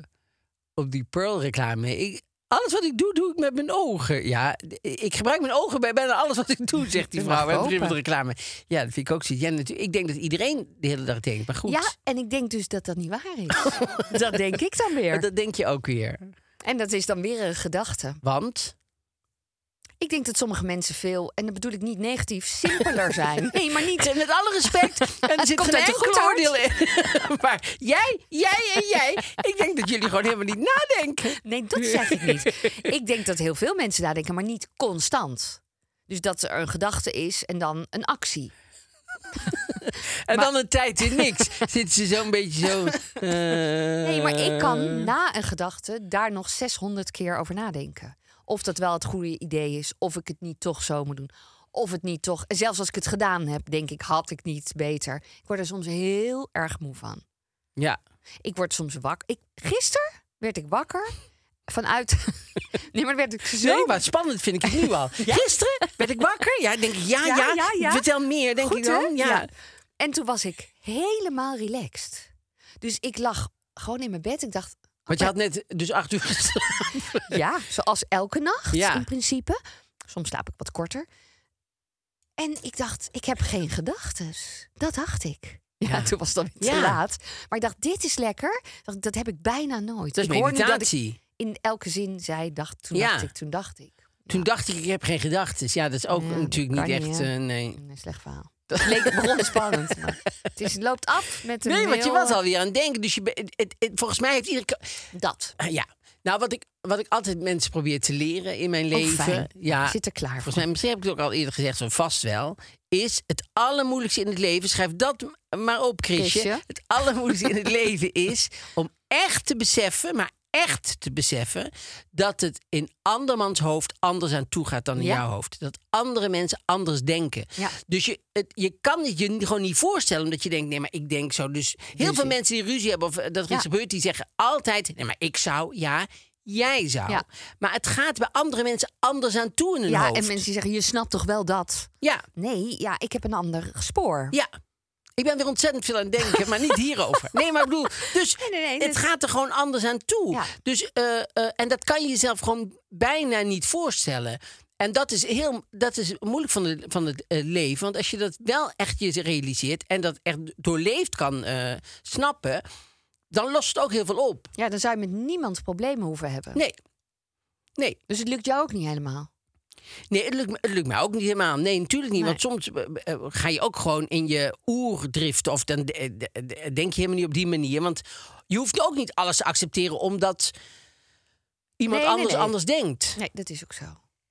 C: op die Pearl-reclame. Ik- Alles wat ik doe, doe ik met mijn ogen. Ja, ik gebruik mijn ogen bij bijna alles wat ik doe, zegt die
B: Dat
C: vrouw.
B: mag
C: We hebben
B: hopen.
C: de reclame. Ja, dat vind ik ook zo. Ja, natuurlijk, ik denk dat iedereen de hele dag denkt, maar goed.
B: Ja, en ik denk dus dat dat niet waar is. dat denk ik dan weer.
C: Maar dat denk je ook weer.
B: En dat is dan weer een gedachte.
C: Want?
B: Ik denk dat sommige mensen veel, en dat bedoel ik niet negatief, simpeler zijn. Nee, maar niet.
C: Met alle respect, en er zit
B: komt
C: geen
B: uit
C: enkel
B: een goed hart.
C: oordeel in. maar jij, jij en jij. Ik denk dat jullie gewoon helemaal niet nadenken.
B: Nee, dat zeg ik niet. Ik denk dat heel veel mensen nadenken, maar niet constant. Dus dat er een gedachte is en dan een actie.
C: En dan een tijd in niks. Zitten ze zo'n beetje zo... eh,
B: Nee, maar ik kan na een gedachte daar nog 600 keer over nadenken. Of dat wel het goede idee is, of ik het niet toch zo moet doen. Of het niet toch. en Zelfs als ik het gedaan heb, denk ik, had ik niet beter. Ik word er soms heel erg moe van.
C: Ja.
B: Ik word soms wakker. Ik, gisteren werd ik wakker vanuit. nee, maar werd ik zo.
C: Nee, maar spannend vind ik het nu al. Gisteren werd ik wakker. Ja, denk ik, ja, ja.
B: Ja, ja, ja.
C: Vertel meer, denk
B: Goed,
C: ik
B: hè?
C: dan. Ja.
B: Ja. En toen was ik helemaal relaxed. Dus ik lag gewoon in mijn bed. Ik dacht,
C: Want je had net dus acht uur geslapen.
B: Ja, zoals elke nacht
C: Ja.
B: in principe. Soms slaap ik wat korter. En ik dacht, ik heb geen gedachten. Dat dacht ik. Ja,
C: Ja.
B: toen was het alweer te
C: Ja.
B: laat. Maar ik dacht, dit is lekker. Ik dacht, Dat heb ik bijna nooit.
C: Dat is
B: ik hoor nu dat ik
C: meditatie.
B: in elke zin zei, dacht, toen
C: Ja.
B: dacht ik, toen dacht ik.
C: Toen dacht ik, ik heb geen gedachten. Ja, dat is ook
B: Ja, dat
C: natuurlijk niet
B: kan
C: echt...
B: hè.
C: eh, nee.
B: Een slecht verhaal. Het leek het begon dus spannend. Maar het, is, het loopt af met een
C: Nee, want je
B: heel, eh,
C: was alweer aan het denken. Dus je, be- het, het- het- volgens mij heeft iedere... ka-
B: Dat.
C: Ah, Ja. Nou, wat ik, wat ik altijd mensen probeer te leren in mijn
B: Oh,
C: leven...
B: fijn.
C: Ja,
B: Ik zit er klaar voor.
C: volgens mij, misschien heb ik het ook al eerder gezegd, zo vast wel... is het allermoeilijkste in het leven... schrijf dat m- maar op, Chrisje.
B: Chrisje.
C: Het allermoeilijkste in het leven is... om echt te beseffen, maar echt te beseffen... dat het in andermans hoofd anders aan toe gaat dan in
B: Ja.
C: jouw hoofd. Dat andere mensen anders denken.
B: Ja.
C: Dus je, het, je kan het je gewoon niet voorstellen... omdat je denkt, nee, maar ik denk zo. Dus heel veel mensen die ruzie hebben of eh, dat er iets
B: Ja.
C: gebeurt... die zeggen altijd, nee, maar ik zou, ja... Jij zou.
B: Ja.
C: Maar het gaat bij andere mensen anders aan toe in hun
B: Ja,
C: hoofd.
B: en mensen die zeggen, je snapt toch wel dat?
C: Ja,
B: Nee, ja, ik heb een ander spoor.
C: ja. Ik ben weer ontzettend veel aan het denken, maar niet hierover. Nee, maar ik bedoel, dus
B: nee, nee,
C: het
B: dus-
C: gaat er gewoon anders aan toe.
B: Ja.
C: Dus, eh, eh, en dat kan je jezelf gewoon bijna niet voorstellen. En dat is heel dat is moeilijk van, de, van het eh, leven. Want als je dat wel echt je realiseert en dat echt doorleefd kan eh, snappen, dan lost het ook heel veel op.
B: Ja, dan zou je met niemand problemen hoeven hebben.
C: Nee. Nee.
B: Dus het lukt jou ook niet helemaal.
C: Nee, het lukt, me- het lukt mij ook niet helemaal. Nee, natuurlijk niet. Want soms eh, eh, ga je ook gewoon in je oer driften. Of dan eh, d- d- denk je helemaal niet op die manier. Want je hoeft ook niet alles te accepteren omdat iemand
B: Nee, nee,
C: anders
B: nee.
C: anders denkt.
B: Nee, dat is ook zo.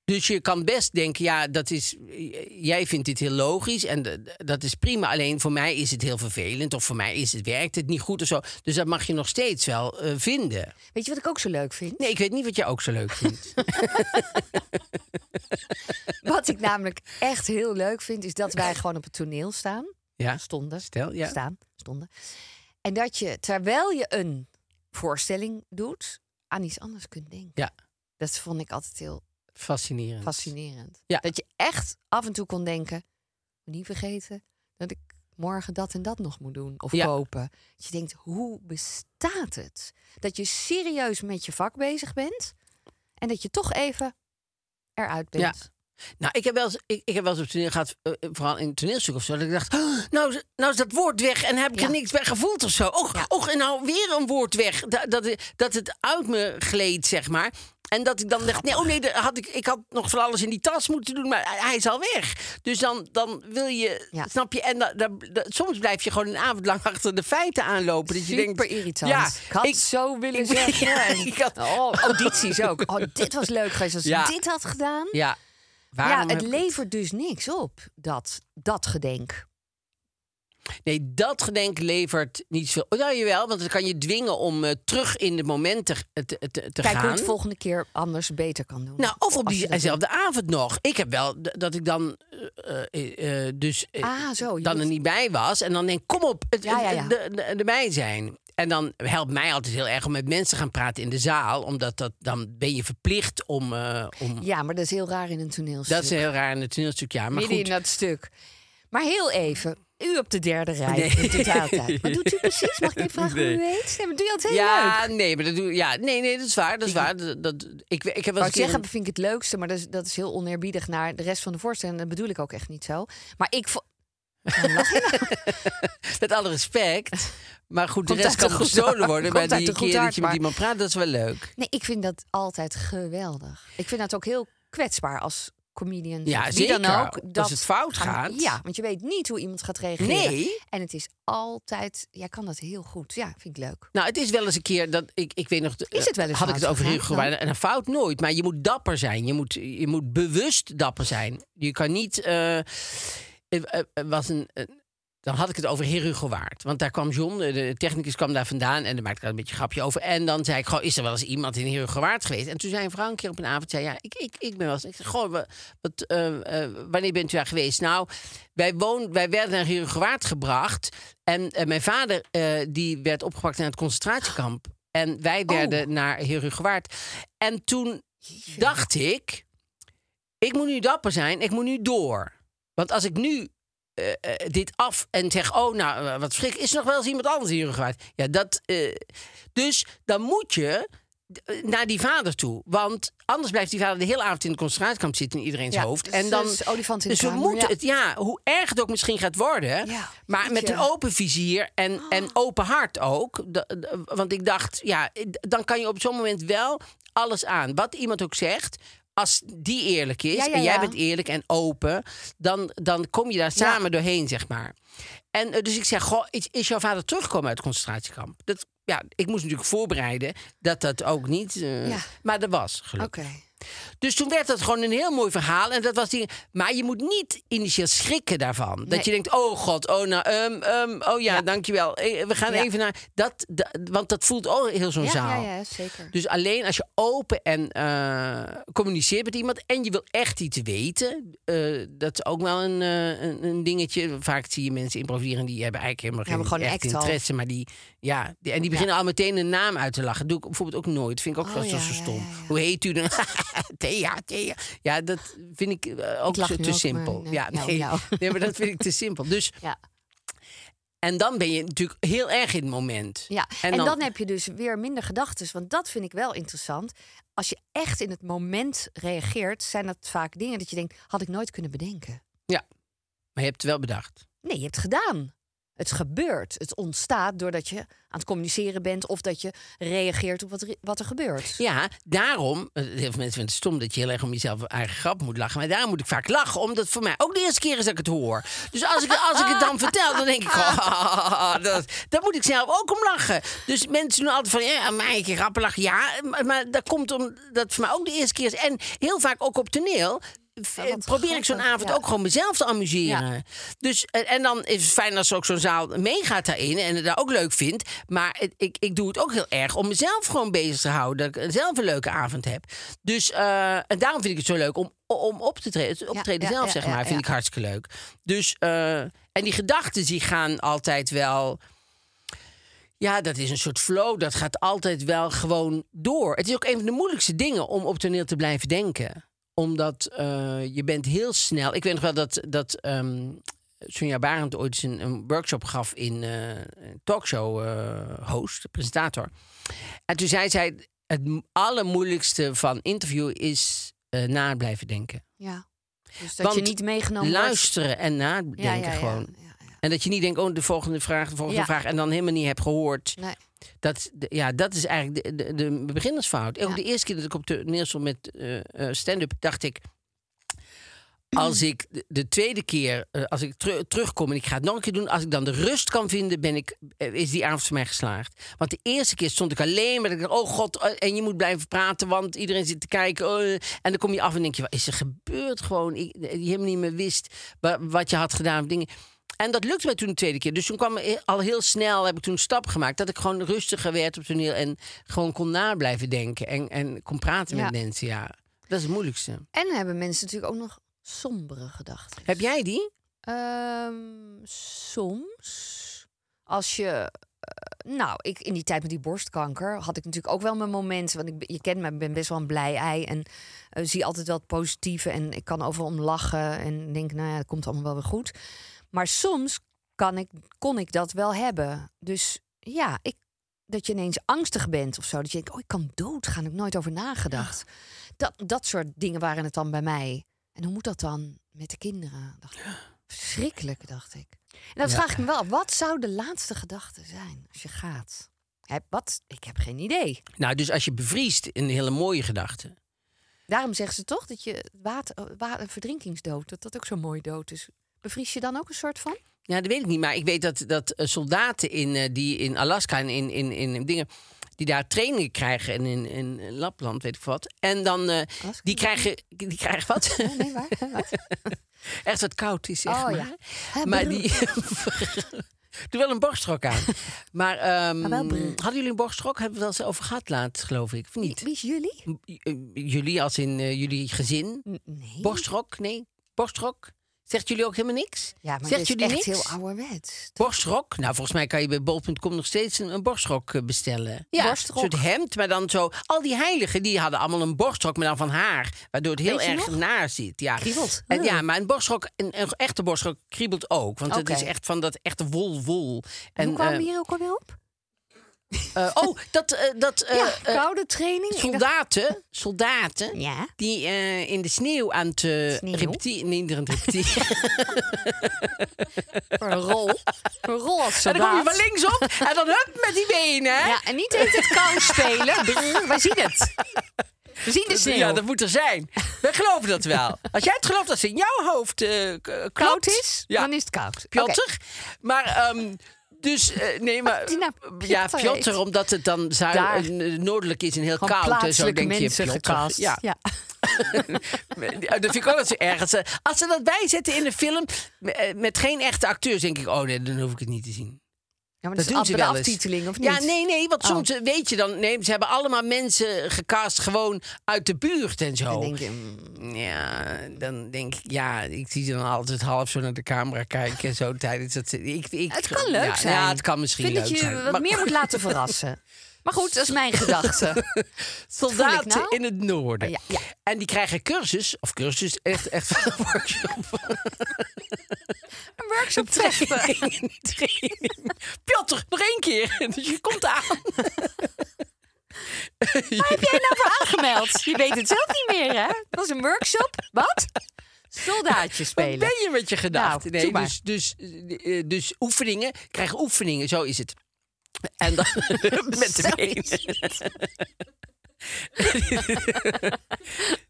C: Dus je kan best denken, ja, dat is, jij vindt dit heel logisch en d- d- dat is prima. Alleen voor mij is het heel vervelend of voor mij is het, werkt het niet goed of zo. Dus dat mag je nog steeds wel eh, vinden.
B: Weet je wat ik ook zo leuk vind?
C: Nee, ik weet niet wat jij ook zo leuk vindt.
B: Wat ik namelijk echt heel leuk vind, is dat wij gewoon op het toneel staan.
C: ja,
B: Stonden.
C: stel, ja.
B: Staan. Stonden. En dat je, terwijl je een voorstelling doet, aan iets anders kunt denken.
C: Ja,
B: Dat vond ik altijd heel
C: fascinerend.
B: fascinerend.
C: Ja.
B: Dat je echt af en toe kon denken, niet vergeten dat ik morgen dat en dat nog moet doen of
C: Ja.
B: kopen. Dat je denkt, hoe bestaat het? Dat je serieus met je vak bezig bent en dat je toch even eruit
C: Ja.
B: bent.
C: Nou, ik heb wel eens, ik, ik heb wel eens op toneel gehad, eh, vooral in toneelstuk of zo, dat ik dacht, "Oh, nou, is- nou is dat woord weg en heb ik
B: Ja.
C: er niks bij gevoeld of zo. Och, och, en nou weer een woord weg. Dat, dat, dat het uit me gleed, zeg maar. En dat ik dan dacht, nee, oh nee, daar had ik, ik had nog van alles in die tas moeten doen, maar hij is al weg. Dus dan, dan wil je,
B: Ja.
C: snap je, en da- da- da- soms blijf je gewoon een avond lang achter de feiten aanlopen. Dat je denkt,
B: Super irritant.
C: Ja,
B: ik had zo willen
C: ik-
B: zeggen.
C: Ja,
B: En-
C: ik had-
B: oh, audities ook. Oh, dit was leuk geweest als
C: Ja.
B: ik dit had gedaan.
C: ja,
B: Ja,
C: waarom
B: het
C: heb ik-
B: levert dus niks op, dat, dat gedenk.
C: Nee, dat gedenk levert niet veel. Oh, nou, jawel, want dan kan je dwingen om eh, terug in het moment te, te, te, te
B: Kijk
C: gaan.
B: hoe het volgeende keer anders beter kan doen.
C: nou, of op
B: Als je dat doet.
C: diezelfde avond nog. Ik heb wel d- dat ik dan eh, eh, eh, dus eh,
B: Ah, zo, je
C: dan er
B: doet-
C: niet bij was en dan denk kom op, het,
B: Ja, ja,
C: het-
B: ja.
C: de- de- erbij zijn. En dan helpt mij altijd heel erg om met mensen te gaan praten in de zaal, omdat dat dan ben je verplicht om, eh, om
B: Ja, maar dat is heel raar in een toneelstuk.
C: dat is heel raar in het toneelstuk, ja, maar
B: Midden
C: goed.
B: in dat stuk. Maar heel even, u op de derde rij
C: Nee.
B: in totaaltijd. Wat doet u precies? Mag ik even vragen
C: Nee.
B: hoe u heet? Nee, maar doe je altijd heel
C: ja,
B: leuk.
C: nee, maar dat doe ja, nee, nee, dat is waar, dat is waar. Dat, dat- ik, ik heb wel
B: Wat
C: eens
B: ik
C: een keer
B: zeggen,
C: een-
B: vind ik het leukste, maar dat is, dat is heel oneerbiedig naar de rest van de voorstelling. Dat bedoel ik ook echt niet zo. Maar ik vo-
C: Met alle respect. Maar goed,
B: Komt
C: de rest
B: uit
C: kan
B: een goed
C: gestolen
B: hart.
C: worden.
B: Komt
C: Bij
B: uit
C: die
B: een goed
C: keer dat
B: hart,
C: je met
B: maar-
C: iemand praat, dat is wel leuk.
B: Nee, ik vind dat altijd geweldig. Ik vind dat ook heel kwetsbaar als comedian.
C: Ja,
B: Wie dan
C: zeker.
B: ook.
C: Als
B: dat
C: het fout
B: gaan-
C: gaat.
B: Ja, want je weet niet hoe iemand gaat reageren.
C: Nee.
B: En het is altijd... Jij kan dat heel goed. Ja, vind ik leuk.
C: Nou, het is wel eens een keer dat ik, ik weet nog.
B: Is het wel eens
C: Had ik het
B: fout
C: over
B: gegaan
C: Hugo
B: dan?
C: Weijnen. En een fout nooit. Maar je moet dapper zijn. Je moet, je moet bewust dapper zijn. Je kan niet. eh, eh, eh, was een. eh, dan had ik het over Heer Hugo Waard. Want daar kwam John, eh, de technicus kwam daar vandaan... en daar maakte ik daar een beetje een grapje over. En dan zei ik, goh, is er wel eens iemand in Heer Hugo Waard geweest? En toen zei Frankje op een avond, zei, ja, ik, ik, ik ben wel eens... Ik zei, goh, wa- wat, eh, eh, wanneer bent u daar geweest? Nou, wij, woon, wij werden naar Heer Hugo Waard gebracht... en eh, mijn vader, eh, die werd opgepakt in het concentratiekamp... en wij werden naar Heer Hugo Waard. En toen dacht ik, ik moet nu dapper zijn, ik moet nu door. Want als ik nu eh, eh, dit af en zeg, oh, nou, eh, wat schrik, is er nog wel eens iemand anders hier gewaard? Ja, dat. eh, dus dan moet je eh, naar die vader toe. Want anders blijft die vader de hele avond in de concentratiekamp zitten in iedereen's
B: Ja,
C: hoofd.
B: dus
C: En
B: dat
C: dan.
B: is olifant in de
C: dus we
B: kamer,
C: moeten
B: ja.
C: het, ja, hoe erg het ook misschien gaat worden.
B: Ja, Ah.
C: maar met
B: jeetje.
C: een open vizier en, en open hart ook. Da- da- want ik dacht, ja, d- dan kan je op zo'n moment wel alles aan. Wat iemand ook zegt. Als die eerlijk is
B: Ja, ja,
C: en jij
B: ja.
C: bent eerlijk en open, dan, dan kom je daar samen doorheen, zeg maar. En eh, dus ik zeg, goh, is, is jouw vader teruggekomen uit het concentratiekamp? Dat, ja, ik moest natuurlijk voorbereiden dat dat ook niet... eh,
B: Ja.
C: Maar dat was, gelukkig.
B: Oké.
C: Dus toen werd dat gewoon een heel mooi verhaal. En dat was die, maar je moet niet initieel schrikken daarvan. Dat
B: Nee.
C: je denkt, oh god, oh, nou, ehm, ehm, oh ja, dankjewel. Eh, We gaan
B: Ja.
C: even naar... Dat, da- want dat voelt ook heel zo'n
B: Ja,
C: zaal.
B: ja, ja, zeker.
C: Dus alleen als je open en eh, communiceert met iemand en je wil echt iets weten, eh, dat is ook wel een, eh, een, een dingetje. Vaak zie je mensen improviseren die hebben eigenlijk helemaal
B: Ja, maar
C: geen
B: gewoon
C: echt
B: act al.
C: interesse, maar die, ja, die- en die beginnen al meteen een naam uit te lachen. Dat doe ik bijvoorbeeld ook nooit. Vind ik ook
B: Oh,
C: wel zo
B: ja, ja,
C: stom.
B: ja, ja.
C: Hoe heet u dan? Thea, Thea. Ja, dat vind ik eh, ook
B: Ik lach
C: zo
B: nu
C: te
B: ook,
C: simpel.
B: maar nee,
C: ja,
B: nou,
C: nee,
B: nou.
C: nee, maar dat vind ik te simpel. Dus
B: Ja.
C: En dan ben je natuurlijk heel erg in het moment.
B: Ja, en, dan... heb je dus weer minder gedachten. Want dat vind ik wel interessant. Als je echt in het moment reageert, zijn dat vaak dingen dat je denkt: had ik nooit kunnen bedenken.
C: Ja, maar je hebt het wel bedacht.
B: Nee, je hebt het gedaan. Het gebeurt. Het ontstaat doordat je aan het communiceren bent of dat je reageert op wat er, wat er gebeurt.
C: Ja, daarom, eh, heel veel mensen vinden het stom dat je heel erg om jezelf eigen grap moet lachen. Maar daarom moet ik vaak lachen, omdat het voor mij ook de eerste keer is dat ik het hoor. Dus als ik, als ik het dan vertel, dan denk ik, oh, dat, daar moet ik zelf ook om lachen. Dus mensen doen altijd van, ja, aan mijn eigen grappen lachen. Ja, maar, maar dat komt omdat het voor mij ook de eerste keer is. En heel vaak ook op toneel. eh,
B: wat
C: Probeer ik zo'n
B: grappig,
C: avond
B: ja.
C: ook gewoon mezelf te amuseren. Dus, eh, en dan is het fijn als ook zo'n zaal meegaat daarin en het daar ook leuk vindt. Maar het- ik, ik doe het ook heel erg om mezelf gewoon bezig te houden. Dat ik zelf een leuke avond heb. Dus eh, en daarom vind ik het zo leuk om, om op te treden. Het optreden
B: ja,
C: zelf,
B: ja,
C: zeg
B: ja,
C: maar, vind
B: ja.
C: ik hartstikke leuk. Dus, eh, en die gedachten die gaan altijd wel. Ja, dat is een soort flow. Dat gaat altijd wel gewoon door. Het is ook een van de moeilijkste dingen om op toneel te blijven denken. Omdat eh, je bent heel snel... Ik weet nog wel dat, dat ehm Sonja Barend ooit eens een, een workshop gaf in eh, een talkshow eh, host, presentator. En toen zei zij, het m- allermoeilijkste van interview is eh, na blijven denken.
B: Ja. Dus dat je
C: Want
B: niet meegenomen
C: Luisteren en nadenken
B: wordt. Ja, ja, ja,
C: gewoon.
B: ja, ja.
C: En dat je niet denkt, oh, de volgende vraag, de volgende
B: Ja.
C: vraag. En dan helemaal niet hebt gehoord.
B: Nee.
C: Dat, de- ja, dat is eigenlijk de, de, de beginnersfout. Ook
B: Ja.
C: de eerste keer dat ik op toneel stond met eh, eh, stand-up, dacht ik... Als ik de- de tweede keer, eh, als ik teru- terugkom en ik ga het nog een keer doen... als ik dan de rust kan vinden, ben ik, eh, is die avond voor mij geslaagd. Want de eerste keer stond ik alleen maar... dat ik dacht, oh god, eh, en je moet blijven praten, want iedereen zit te kijken. oh, eh. en dan kom je af en denk je, wat is er gebeurd gewoon? Ik, eh, je helemaal niet meer wist wa- wat je had gedaan of dingen... En dat lukte mij toen de tweede keer. Dus toen kwam e- al heel snel, heb ik toen een stap gemaakt... dat ik gewoon rustiger werd op toneel en gewoon kon na blijven denken... en, en kon praten met
B: Ja.
C: mensen, ja. Dat is het moeilijkste.
B: En hebben mensen natuurlijk ook nog sombere gedachten.
C: Heb jij die?
B: Ehm, soms. Als je. eh, nou, ik, in die tijd met die borstkanker had ik natuurlijk ook wel mijn momenten. Want ik, ben- je kent me, ik ben best wel een blij ei. En eh, zie altijd wel het positieve. En ik kan overal om lachen. En denk, nou ja, het komt allemaal wel weer goed. Maar soms kan ik, kon ik dat wel hebben. Dus ja, ik, dat je ineens angstig bent of zo. Dat je denkt, oh, ik kan doodgaan. Heb ik nooit over nagedacht. Dat, dat soort dingen waren het dan bij mij. En hoe moet dat dan met de kinderen? Dacht ik. Verschrikkelijk, dacht ik. En dat vraag ik me wel. af. Wat zou de laatste gedachte zijn als je gaat? Heb, wat? Ik heb geen idee.
C: Nou, dus als je bevriest, een hele mooie gedachte.
B: Daarom zeggen ze toch dat je water, water, verdrinkingsdood, dat dat ook zo'n mooi dood is. Bevries je dan ook een soort van?
C: Ja, dat weet ik niet. Maar ik weet dat, dat eh, soldaten in, eh, die in Alaska en in, in, in dingen... die daar trainingen krijgen en in, in Lapland, weet ik wat. En dan, eh,
B: Alaska?
C: die krijgen... Die krijgen wat?
B: Oh, nee, waar? Wat?
C: Echt wat koud is, zeg
B: Oh,
C: maar.
B: ja. Hè,
C: Maar
B: broer.
C: die... Doe wel een borstrok aan. Maar ehm,
B: Maar Ah, wel broer.
C: hadden jullie een borstrok? Hebben we het wel eens over gehad laatst, geloof ik. Of niet?
B: Wie is jullie?
C: J- eh, Jullie als in eh, jullie gezin?
B: N- Nee.
C: Borstrok? Hm? Nee. Borstrok? Zegt jullie ook helemaal niks?
B: Ja, maar
C: Zegt
B: dat is
C: jullie
B: echt
C: niks?
B: heel ouderwets.
C: Borstrok? Nou, volgens mij kan je bij bol.com nog steeds een, een borstrok eh, bestellen. Ja,
B: Borstrok.
C: een soort hemd, maar dan zo... Al die heiligen, die hadden allemaal een borstrok, maar dan van haar. Waardoor het heel
B: Weet je
C: erg
B: nog?
C: naar zit. Ja.
B: Kriebelt.
C: En, ja, maar een borstrok, een, een echte borstrok kriebelt ook. Want
B: Oké.
C: het is echt van dat echte wol-wol.
B: En, hoe kwam
C: eh,
B: je hier ook alweer op?
C: eh, oh, dat... eh, dat eh,
B: ja,
C: eh,
B: koude training. Ik dacht-
C: soldaten, soldaten...
B: Ja.
C: Die eh, in de sneeuw aan het eh,
B: Sneeuw?
C: repeteren... Nee, niet aan het repeteren.
B: Voor een rol. Voor een rol als
C: en dan kom je
B: soldaat.
C: van linksop en dan hup met die benen. hè?
B: Ja, en niet heet het kou spelen. Brrr, Wij zien het. We zien de sneeuw.
C: Ja, dat moet er zijn. Wij geloven dat wel. Als jij het gelooft dat ze in jouw hoofd eh, k- klopt,
B: koud is,
C: ja,
B: dan is het koud.
C: Piotr.
B: Oké.
C: Maar ehm, dus, eh, nee, maar...
B: Die naam
C: ja,
B: Piotr
C: Piotr,
B: heet.
C: omdat het dan zuid,
B: Daar.
C: eh, noordelijk is en heel
B: Gewoon
C: koud. En zo
B: plaatselijke
C: denk je,
B: mensen
C: Piotr.
B: gecast.
C: Ja. Eh,
B: ja.
C: dat vind ik ook dat ze ergens... eh, Als ze dat bijzetten in een film eh, met geen echte acteurs, denk ik... Oh nee, dan hoef ik het niet te zien.
B: Ja, maar
C: Dat
B: dat,
C: doen
B: is
C: ze
B: de
C: wel eens.
B: aftiteling, Dus of niet?
C: Ja, nee, nee, want
B: Oh.
C: soms eh, weet je dan... Nee, ze hebben allemaal mensen gecast gewoon uit de buurt en zo.
B: Dan denk je, mm,
C: Ja, dan denk ik, ja, ik zie ze dan altijd half zo naar de camera kijken. Zo tijdens dat ze. Ik, ik,
B: het kan leuk
C: ja,
B: zijn.
C: Ja, het kan misschien
B: Vind
C: leuk
B: dat je
C: zijn.
B: wat
C: Maar-
B: meer moet laten verrassen. Maar goed, dat is mijn gedachte.
C: Soldaten
B: nou?
C: in het noorden.
B: Oh, ja, ja.
C: En die krijgen cursus, of cursus, echt, echt van een workshop.
B: Een workshop treffen.
C: Training, training. Piotr, nog één keer. Dus je komt aan.
B: Heb jij nou voor aangemeld? Je weet het zelf niet meer, hè? Het was een workshop. Wat? Soldaatje
C: Wat
B: spelen.
C: ben je met je gedachten?
B: Nou, doe maar.
C: dus, dus, eh, eh, dus oefeningen, krijg oefeningen, zo is het. En dan met de benen.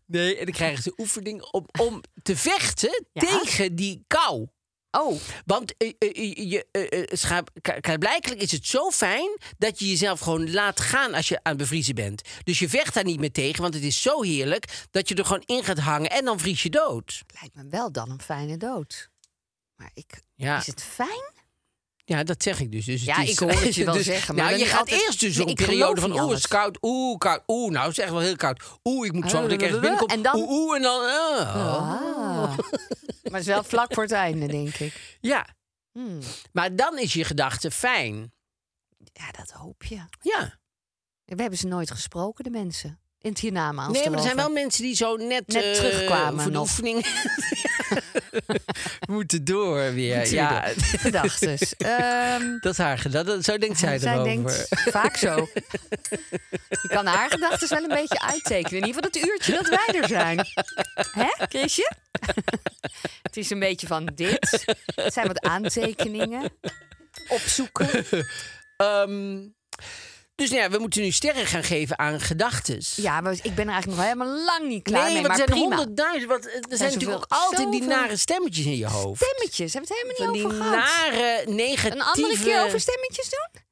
C: nee, en dan krijgen ze oefening om, om te vechten
B: Ja.
C: tegen die kou.
B: Oh,
C: Want eh, eh, eh, je, eh, eh, schaap- k- klaarblijkelijk is het zo fijn dat je jezelf gewoon laat gaan als je aan het bevriezen bent. Dus je vecht daar niet meer tegen, want het is zo heerlijk dat je er gewoon in gaat hangen en dan vries je dood.
B: lijkt me wel dan een fijne dood. Maar ik,
C: Ja.
B: is het fijn?
C: Ja, dat zeg ik dus. dus
B: Ja,
C: het is,
B: ik hoor het je wel
C: dus-
B: zeggen, maar
C: Nou,
B: dan
C: je
B: niet
C: gaat
B: altijd-
C: eerst dus
B: Nee,
C: op een
B: ik geloof
C: periode van...
B: niet
C: Oeh, het is
B: alles.
C: koud. Oeh, koud. Oeh, nou, het is echt wel heel koud. Oeh, ik moet zorgen dat ik ergens binnenkom.
B: En dan-
C: Oeh, oeh, en dan... eh, oh.
B: Ah. Maar het is wel vlak voor het einde, denk ik.
C: Ja,
B: Hmm.
C: maar dan is je gedachte fijn.
B: Ja, dat hoop je.
C: Ja.
B: We hebben ze nooit gesproken, de mensen. In het hiernamaals.
C: Nee, maar er zijn wel
B: erover.
C: mensen die zo net...
B: Net
C: eh,
B: terugkwamen
C: Voor de
B: nog.
C: oefening... moeten door weer.
B: Moeten
C: ja,
B: we doen. Gedachtes. Ehm,
C: dat is haar gedachte. Zo denkt zij,
B: zij
C: erover.
B: denkt vaak zo. Je kan haar gedachten wel een beetje uittekenen. In ieder geval het uurtje dat wij er zijn. Hè, Chrisje? Het is een beetje van dit. Het zijn wat aantekeningen. Opzoeken.
C: Ehm, dus nou ja, we moeten nu sterren gaan geven aan gedachtes.
B: Ja, maar ik ben er eigenlijk nog helemaal lang niet klaar
C: nee,
B: mee.
C: want
B: Maar
C: er zijn
B: prima.
C: honderdduizend. Want eh, er zijn
B: zoveel-
C: natuurlijk ook altijd die
B: zoveel
C: nare stemmetjes in je hoofd.
B: Stemmetjes, hebben we het helemaal
C: Van
B: niet
C: die
B: over gehad.
C: nare, negatieve...
B: Een andere keer over stemmetjes doen?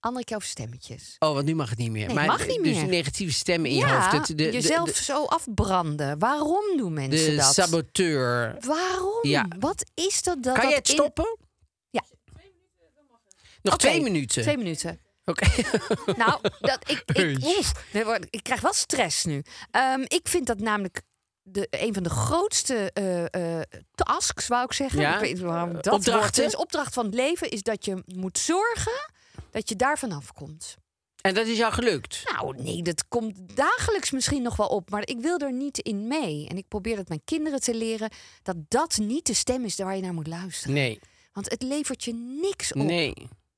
B: Andere keer over stemmetjes.
C: Oh, want nu mag het niet meer.
B: Nee,
C: maar
B: mag niet
C: dus
B: meer.
C: negatieve stemmen in je
B: ja,
C: hoofd. Het- de- de,
B: jezelf
C: de,
B: zo afbranden. Waarom doen
C: de
B: mensen dat?
C: saboteur.
B: Waarom?
C: Ja.
B: Wat is dat dat
C: kan
B: dat
C: jij het
B: in-
C: stoppen?
B: Ja.
C: Nog
B: Oké,
C: twee minuten.
B: Twee minuten.
C: Oké.
B: Nou, dat, ik, ik,
C: Heus.
B: oef, dit wordt- ik krijg wel stress nu. Ehm, ik vind dat namelijk de, een van de grootste eh, eh, tasks, wou ik zeggen.
C: Ja. Eh,
B: Ik weet niet waarom dat
C: Opdrachten.
B: woord is. Opdracht van het leven is dat je moet zorgen dat je daarvan afkomt.
C: En dat is jou gelukt?
B: Nou, nee, dat komt dagelijks misschien nog wel op, maar ik wil er niet in mee. En ik probeer het mijn kinderen te leren dat dat niet de stem is waar je naar moet luisteren.
C: Nee.
B: Want het levert je niks op.
C: Nee.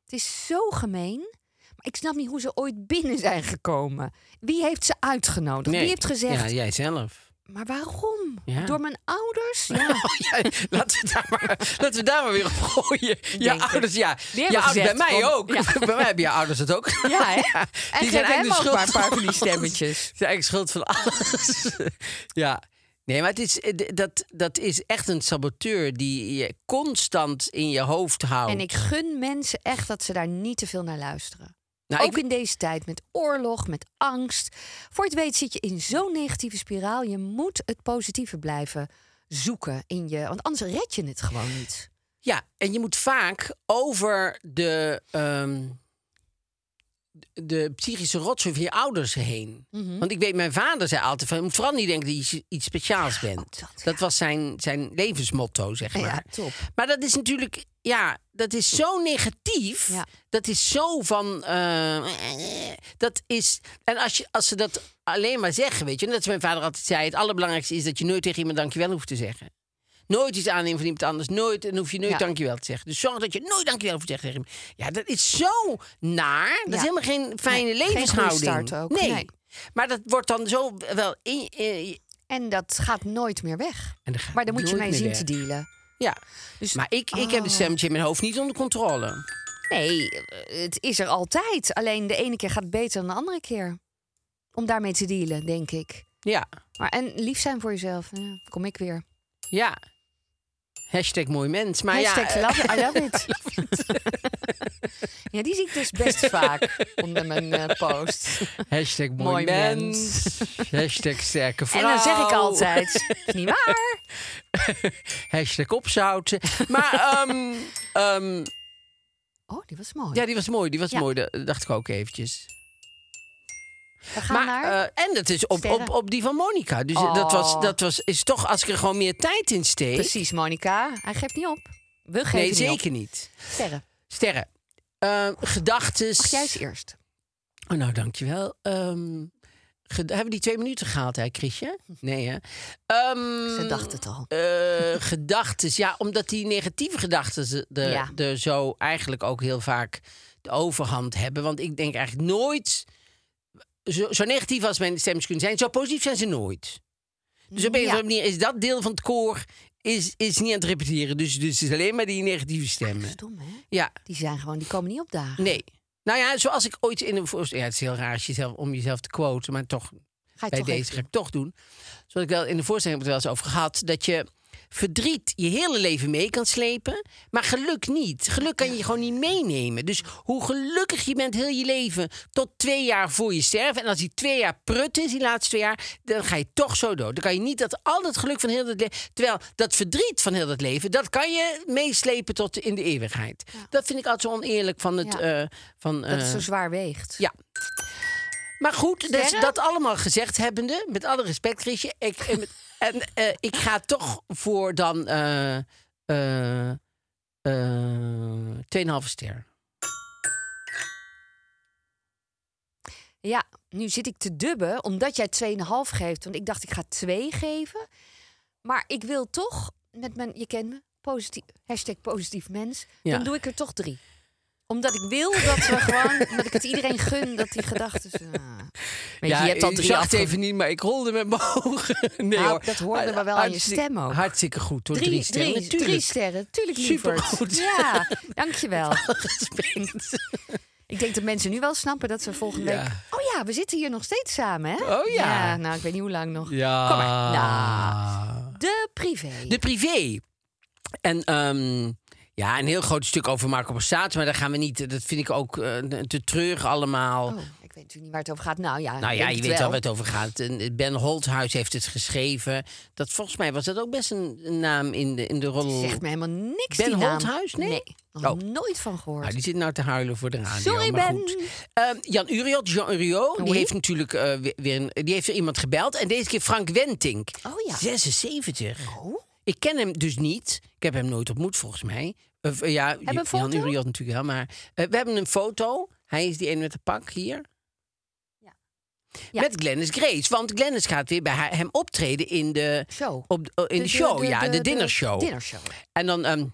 B: Het is zo gemeen. Maar ik snap niet hoe ze ooit binnen zijn gekomen. Wie heeft ze uitgenodigd?
C: nee.
B: Wie heeft gezegd,
C: Ja, jij zelf.
B: maar waarom?
C: Ja.
B: Door mijn ouders? Ja.
C: Oh, ja, laten, we daar maar, laten we daar maar weer op gooien. Je
B: Denk het.
C: ouders, ja.
B: Die
C: Je
B: hebben
C: ouders, bij
B: gezegd,
C: mij
B: want-
C: ook. Bij mij hebben je ouders het ook.
B: Ja, hè?
C: Ja,
B: En
C: die
B: geef
C: zijn
B: hem
C: eigenlijk
B: ook
C: schuld
B: maar een paar van die
C: alles.
B: stemmetjes.
C: Ze zijn eigenlijk schuld van alles. ja. Nee, maar het is, eh, d- dat, dat is echt een saboteur die je constant in je hoofd houdt.
B: En ik gun mensen echt dat ze daar niet te veel naar luisteren.
C: Nou,
B: ook
C: ik-
B: in deze tijd met oorlog, met angst. Voor je het weet zit je in zo'n negatieve spiraal. Je moet het positieve blijven zoeken in je. Want anders red je het gewoon niet.
C: Ja, en je moet vaak over de, ehm, de psychische rotzooi van je ouders heen.
B: Mhm.
C: Want ik weet, mijn vader zei altijd van... je moet vooral niet denken dat je iets speciaals bent.
B: dat,
C: Dat, was zijn, zijn levensmotto, zeg maar.
B: Ja, top.
C: Maar dat is natuurlijk, ja, dat is zo negatief.
B: Ja.
C: Dat is zo van. eh, dat is. En als, je, als ze dat alleen maar zeggen, weet je, en dat is mijn vader altijd zei: het allerbelangrijkste is dat je nooit tegen iemand dankjewel hoeft te zeggen. Nooit iets aannemen van iemand anders. Nooit. En hoef je nooit
B: Ja.
C: dankjewel te zeggen. Dus zorg dat je nooit dankjewel hoeft te zeggen tegen iemand. Ja, dat is zo naar. Dat is
B: Ja.
C: helemaal geen fijne
B: Nee, geen goede
C: levenshouding.
B: start ook.
C: Nee.
B: Nee.
C: Maar dat wordt dan zo wel. In, eh,
B: En dat gaat nooit meer weg.
C: En dat gaat
B: maar daar moet je
C: nooit
B: mee
C: meer
B: zien
C: weg.
B: te dealen.
C: ja. maar ik, ik heb het stemmetje in mijn hoofd niet onder controle.
B: Nee, eh, het is er altijd. Alleen de ene keer gaat beter dan de andere keer. Om daarmee te dealen, denk ik.
C: Ja.
B: Maar, en lief zijn voor jezelf. Ja, kom ik weer.
C: Ja. Hashtag mooi mens. Maar ja,
B: Hashtag
C: eh,
B: love, I love it. ja, die zie ik dus best vaak onder mijn eh, post.
C: hashtag mooi,
B: Mooi
C: mens. hashtag sterke vrouw.
B: En dan zeg ik altijd, is niet waar.
C: hashtag opzouten. Maar ehm, ehm,
B: Oh, die was mooi.
C: ja, die was mooi. Die was
B: Ja.
C: mooi. Dat dacht ik ook eventjes.
B: We gaan
C: maar,
B: naar...
C: eh, en dat is op, op,
B: Sterren. Oh.
C: op die van Monica. Dus dat, was, dat was, is toch, als ik er gewoon meer tijd in steek...
B: Precies, Monica. Hij geeft niet op. We geven
C: Nee,
B: niet
C: zeker niet.
B: op. Sterren.
C: Sterren. Ehm gedachtes.
B: Mag jij eens eerst?
C: Oh, nou, dankjewel. Ehm, ge- hebben we die twee minuten gehaald, hè, Chrisje? Nee, hè? Ehm,
B: Ze dacht het al.
C: eh gedachtes. Ja, omdat die negatieve gedachten er,
B: Ja.
C: er zo eigenlijk ook heel vaak de overhand hebben. Want ik denk eigenlijk nooit. Zo, zo negatief als mijn stemmers kunnen zijn, zo positief zijn ze nooit. Dus op een of
B: Ja.
C: andere manier is dat deel van het koor is, is niet aan het repeteren. Dus, dus het is alleen maar die negatieve stemmen.
B: Stom, hè?
C: Ja,
B: Die zijn gewoon, die komen niet op dagen.
C: nee. Nou ja, zoals ik ooit in een voorstelling. Ja, het is heel raar als je zelf, om jezelf te quoten, maar toch
B: Ga je
C: bij
B: toch
C: deze
B: even
C: ga ik toch doen. Zoals ik wel in de voorstelling heb ik het wel eens over gehad. Dat je verdriet je hele leven mee kan slepen. Maar geluk niet. Geluk kan je gewoon niet meenemen. Dus hoe gelukkig je bent heel je leven tot twee jaar voor je sterven. En als die twee jaar prut is, die laatste twee jaar, dan ga je toch zo dood. Dan kan je niet dat al dat geluk van heel dat leven. Terwijl dat verdriet van heel dat leven, dat kan je meeslepen tot in de eeuwigheid. Dat vind ik altijd zo oneerlijk van het.
B: Ja.
C: eh, van,
B: Dat het
C: eh,
B: zo zwaar weegt.
C: ja. Maar goed, dus
B: Sterren?
C: dat allemaal gezegd hebbende, met alle respect, Griesje. Ik, en met- en eh, ik ga toch voor dan eh eh eh 2,5 ster.
B: Ja, nu zit ik te dubben omdat jij 2,5 geeft. Want ik dacht, ik ga 2 geven. Maar ik wil toch, met mijn, je kent me, positief, hashtag positief mens.
C: Ja.
B: Dan doe ik er toch 3. Omdat ik wil dat we gewoon, omdat ik het iedereen gun, dat die gedachten. ah. Weet je, je hebt al
C: ik
B: drie
C: zag het
B: afge-
C: even niet, maar ik rolde met mijn ogen. Nee,
B: Nou,
C: hoor.
B: dat hoorden we wel aan je
C: Hartstikke-
B: stem ook.
C: Hartstikke goed, hoor. Drie,
B: Drie,
C: sterren,
B: drie,
C: natuurlijk.
B: drie sterren, tuurlijk lieverd.
C: Supergoed.
B: Ja, dankjewel.
C: Respect.
B: Ik denk dat mensen nu wel snappen dat ze volgende
C: Ja.
B: week... Oh ja, we zitten hier nog steeds samen, hè?
C: Oh ja.
B: nou, ik weet niet hoe lang nog.
C: Ja.
B: Kom maar. Nou, de privé.
C: De privé. En ehm, ja, een heel groot stuk over Marco Borsato. Maar daar gaan we niet. Dat vind ik ook eh, te treurig allemaal.
B: Oh, ik weet natuurlijk niet waar het over gaat. Nou ja,
C: nou
B: ik
C: ja,
B: denk
C: je
B: het
C: weet wel
B: wel.
C: waar het over gaat. En eh, Ben Holthuis heeft het geschreven. Dat, volgens mij was dat ook best een een naam in de, in de roddel.
B: Zegt me helemaal niks,
C: Ben
B: die naam.
C: Holthuis? Nee?
B: nog
C: Oh.
B: nooit van gehoord.
C: Nou, die zit nou te huilen voor de radio.
B: Sorry,
C: maar
B: Ben. Oh,
C: Goed. Ehm, Jan Uriot, Jean Uriot, die
B: Oei.
C: heeft natuurlijk eh, weer, weer een, die heeft weer iemand gebeld. En deze keer Frank Wentink.
B: Oh ja.
C: 76.
B: Oh.
C: Ik ken hem dus niet. Ik heb hem nooit ontmoet, volgens mij. Of, eh, ja,
B: we een
C: Jan
B: foto?
C: Uriot natuurlijk wel. Maar eh, we hebben een foto. Hij is die ene met de pak hier.
B: Ja.
C: Met Glennis Grace. Want Glennis gaat weer bij haar- hem optreden in de,
B: Show.
C: op, de- in de, show. ja, de, dinnershow.
B: dinnershow.
C: En, dan, ehm,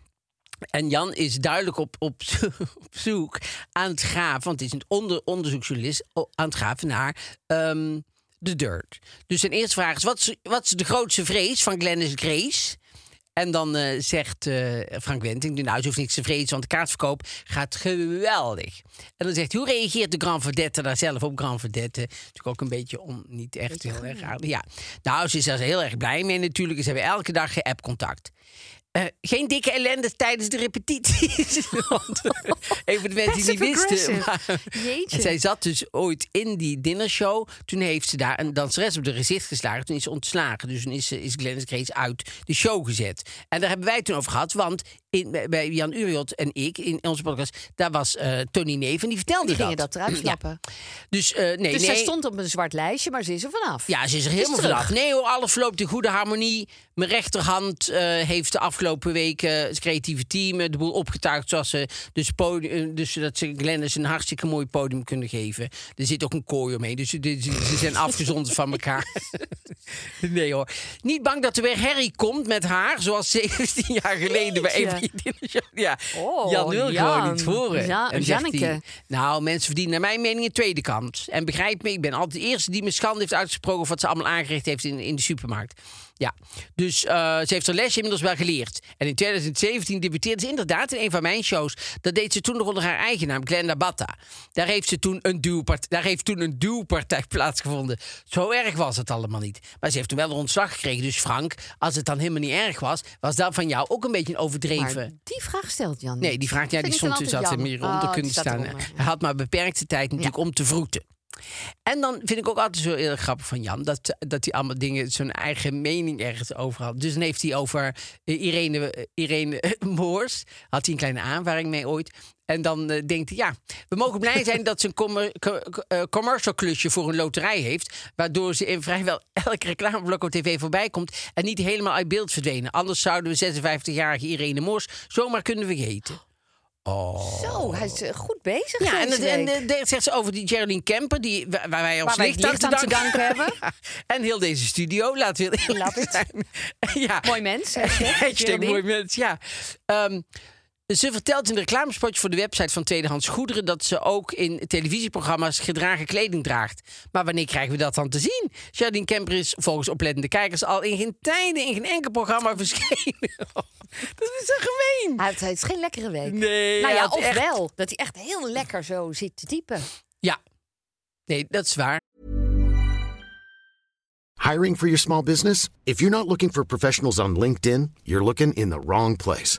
C: en Jan is duidelijk op, op, zo- op zoek aan het graven, want het is een onder, onderzoeksjournalist, o- aan het graven naar ehm, de dirt. Dus zijn eerste vraag is, wat is, wat is de grootste vrees van Glennis Grace? En dan eh, zegt eh, Frank Wenting, nou, ze hoeft niks te vrezen, want de kaartverkoop gaat geweldig. En dan zegt hij, hoe reageert de Grand Verdette daar zelf op? Grand Verdette, natuurlijk ook een beetje om, niet echt heel erg aardig. Ja. Nou, ze is daar heel erg blij mee natuurlijk. Ze hebben elke dag app-contact. Eh, geen dikke ellende tijdens de repetities. Want, eh, Even de mensen die
B: Passive
C: niet wisten.
B: aggressive.
C: maar-
B: Jeetje.
C: En zij zat dus ooit in die dinnershow. Toen heeft ze daar een danseres op de gezicht geslagen. Toen is ze ontslagen. Dus toen is, ze- is Glennis Grace uit de show gezet. En daar hebben wij het toen over gehad. Want in, bij- bij Jan Uriot en ik, in onze podcast... daar was eh, Tony Neven, die vertelde
B: Die
C: dat.
B: gingen dat eruit
C: Ja.
B: slappen.
C: Dus, eh, nee,
B: Dus
C: nee.
B: zij stond op een zwart lijstje, maar ze is er vanaf.
C: Ja, ze is er helemaal
B: terug.
C: vanaf. Nee hoor, alles verloopt in goede harmonie. Mijn rechterhand eh, heeft de afgelopen weken het creatieve team eh, de boel opgetuigd. Zoals ze, dus, podi- eh, dus dat ze Glennis een hartstikke mooi podium kunnen geven. Er zit ook een kooi omheen, dus ze- ze ze zijn afgezonderd van elkaar. Nee hoor. Niet bang dat er weer herrie komt met haar. Zoals 17 jaar geleden bij een van je dinnershows. Ja.
B: Oh,
C: Jan wil gewoon
B: Jan.
C: niet horen.
B: Ja,
C: En zegt
B: Janneke.
C: hij, nou, mensen verdienen naar mijn mening een tweede kans. En begrijp me, ik ben altijd de eerste die me schande heeft uitgesproken... of wat ze allemaal aangericht heeft in, in de supermarkt. Ja, dus eh, ze heeft haar lesje inmiddels wel geleerd. En in 2017 debuteerde ze inderdaad in een van mijn shows. Dat deed ze toen nog onder haar eigen naam, Glenda Batta. Daar heeft, ze toen een duwpart- daar heeft toen een duwpartij plaatsgevonden. Zo erg was het allemaal niet. Maar ze heeft toen wel een ontslag gekregen. Dus Frank, als het dan helemaal niet erg was... was dat van jou ook een beetje een overdreven...
B: Maar die vraag stelt Jan
C: Nee,
B: niet.
C: die vraag, ja,
B: Vind
C: die
B: ik dan
C: stond dus
B: altijd
C: had er
B: Jan.
C: meer onder
B: Oh,
C: kunnen
B: die staat
C: staan.
B: eronder, ja.
C: Hij had maar beperkte tijd natuurlijk om te vroeten. En dan vind ik ook altijd zo heel grappig van Jan... dat, dat hij allemaal dingen, zijn eigen mening ergens over had. Dus dan heeft hij over eh, Irene, eh, Irene eh, Moors... had hij een kleine aanvaring mee ooit. En dan eh, denkt hij, ja, we mogen blij zijn... dat ze een commer- co- co- eh, commercial klusje voor een loterij heeft... waardoor ze in vrijwel elk reclameblok op tv voorbij komt... en niet helemaal uit beeld verdwenen. Anders zouden we 56-jarige Irene Moors zomaar kunnen vergeten. Oh.
B: Zo, hij is eh, goed bezig.
C: Ja, en,
B: deze
C: het- en
B: week.
C: eh, dat zegt ze over die Geraldine Kemper, die, wa- waar wij ons
B: Waar wij
C: licht,
B: het licht
C: aan te danken,
B: aan te danken hebben.
C: en heel deze studio, laten we heel
B: Love
C: eerlijk
B: it.
C: zijn. ja.
B: Mooi mens, hashtag
C: Hashtag
B: Geraldine.
C: mooi mens, ja. Ehm, ze vertelt in een reclamespotje voor de website van Tweedehands Goederen... dat ze ook in televisieprogramma's gedragen kleding draagt. Maar wanneer krijgen we dat dan te zien? Geraldine Kemper is volgens oplettende kijkers al in geen tijden... in geen enkel programma verschenen. dat is zo gemeen.
B: Hij heeft- het is geen lekkere week.
C: Nee,
B: nou
C: hij
B: ja,
C: had
B: of
C: echt-
B: wel. Dat hij echt heel lekker zo zit te typen.
C: Ja, nee, dat is waar.
A: Hiring for your small business? If you're not looking for professionals on LinkedIn, you're looking in the wrong place.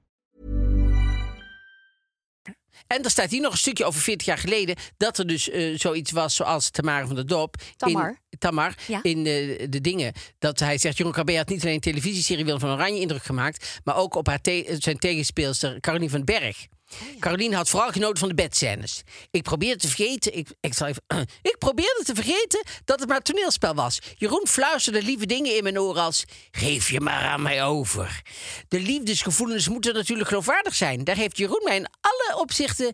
C: En er staat hier nog een stukje over 40 jaar geleden... dat er dus eh, zoiets was zoals Tamara van der Dop...
B: Tamar.
C: In, Tamar,
B: Ja.
C: in eh, de dingen. Dat hij zegt, Jeroen Krabbe had niet alleen televisieserie Willem van Oranje indruk gemaakt... maar ook op haar te- zijn tegenspeelster Caroline van Berg. Caroline had vooral genoten van de bedscènes. Ik probeerde te vergeten... Ik, ik, zal even, ik probeerde te vergeten dat het maar toneelspel was. Jeroen fluisterde lieve dingen in mijn oren als... Geef je maar aan mij over. De liefdesgevoelens moeten natuurlijk geloofwaardig zijn. Daar heeft Jeroen mij in alle opzichten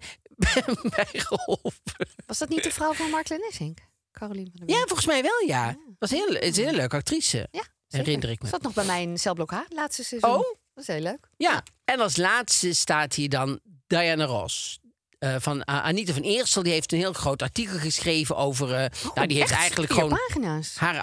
C: bij geholpen.
B: Was dat niet de vrouw van Mark Lennissink? Caroline van der
C: Ja,
B: Wijn.
C: volgens mij wel, ja. Was heel, het is een heel leuke actrice.
B: Ja,
C: herinner ik me.
B: Zat nog bij mijn celblok H, laatste seizoen.
C: Oh.
B: Dat is heel leuk.
C: Ja, en als laatste staat hier dan Diana Ross. eh, van eh, Anita van Eersel, die heeft een heel groot artikel geschreven over. eh, nou, die heeft
B: Oh, Echt?
C: eigenlijk
B: Vier
C: gewoon
B: pagina's.
C: haar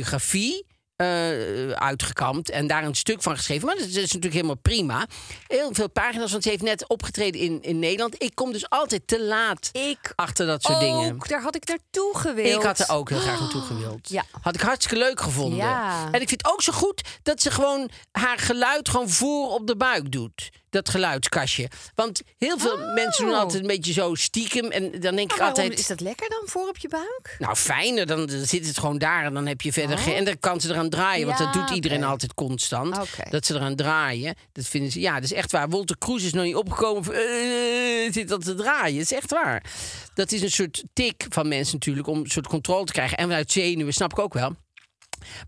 C: autobiografie eh, uitgekampt en daar een stuk van geschreven. Maar dat is dus natuurlijk helemaal prima. Heel veel pagina's, want ze heeft net opgetreden in, in Nederland. Ik kom dus altijd te laat
B: Ik
C: achter dat soort dingen.
B: Ook, daar had ik naartoe gewild.
C: Ik had er ook heel graag naartoe gewild.
B: ja.
C: Had ik hartstikke leuk gevonden.
B: Ja.
C: En ik vind het ook zo goed dat ze gewoon haar geluid gewoon voor op de buik doet. Dat geluidskastje. Want heel veel
B: Oh.
C: mensen doen altijd een beetje zo stiekem. En dan denk
B: Maar
C: ik
B: waarom
C: altijd...
B: Is dat lekker dan, voor op je buik?
C: Nou, fijner, dan zit het gewoon daar en dan heb je verder geen... En dan kan ze eraan draaien, want dat
B: Oh. Ja,
C: doet iedereen
B: oké.
C: altijd constant.
B: Oké.
C: Dat ze eraan draaien, dat vinden ze... Ja, dat is echt waar. Wolter Kroes is nog niet opgekomen, van, eh, zit dat te draaien. Dat is echt waar. Dat is een soort tik van mensen natuurlijk, om een soort controle te krijgen. En vanuit zenuwen, snap ik ook wel.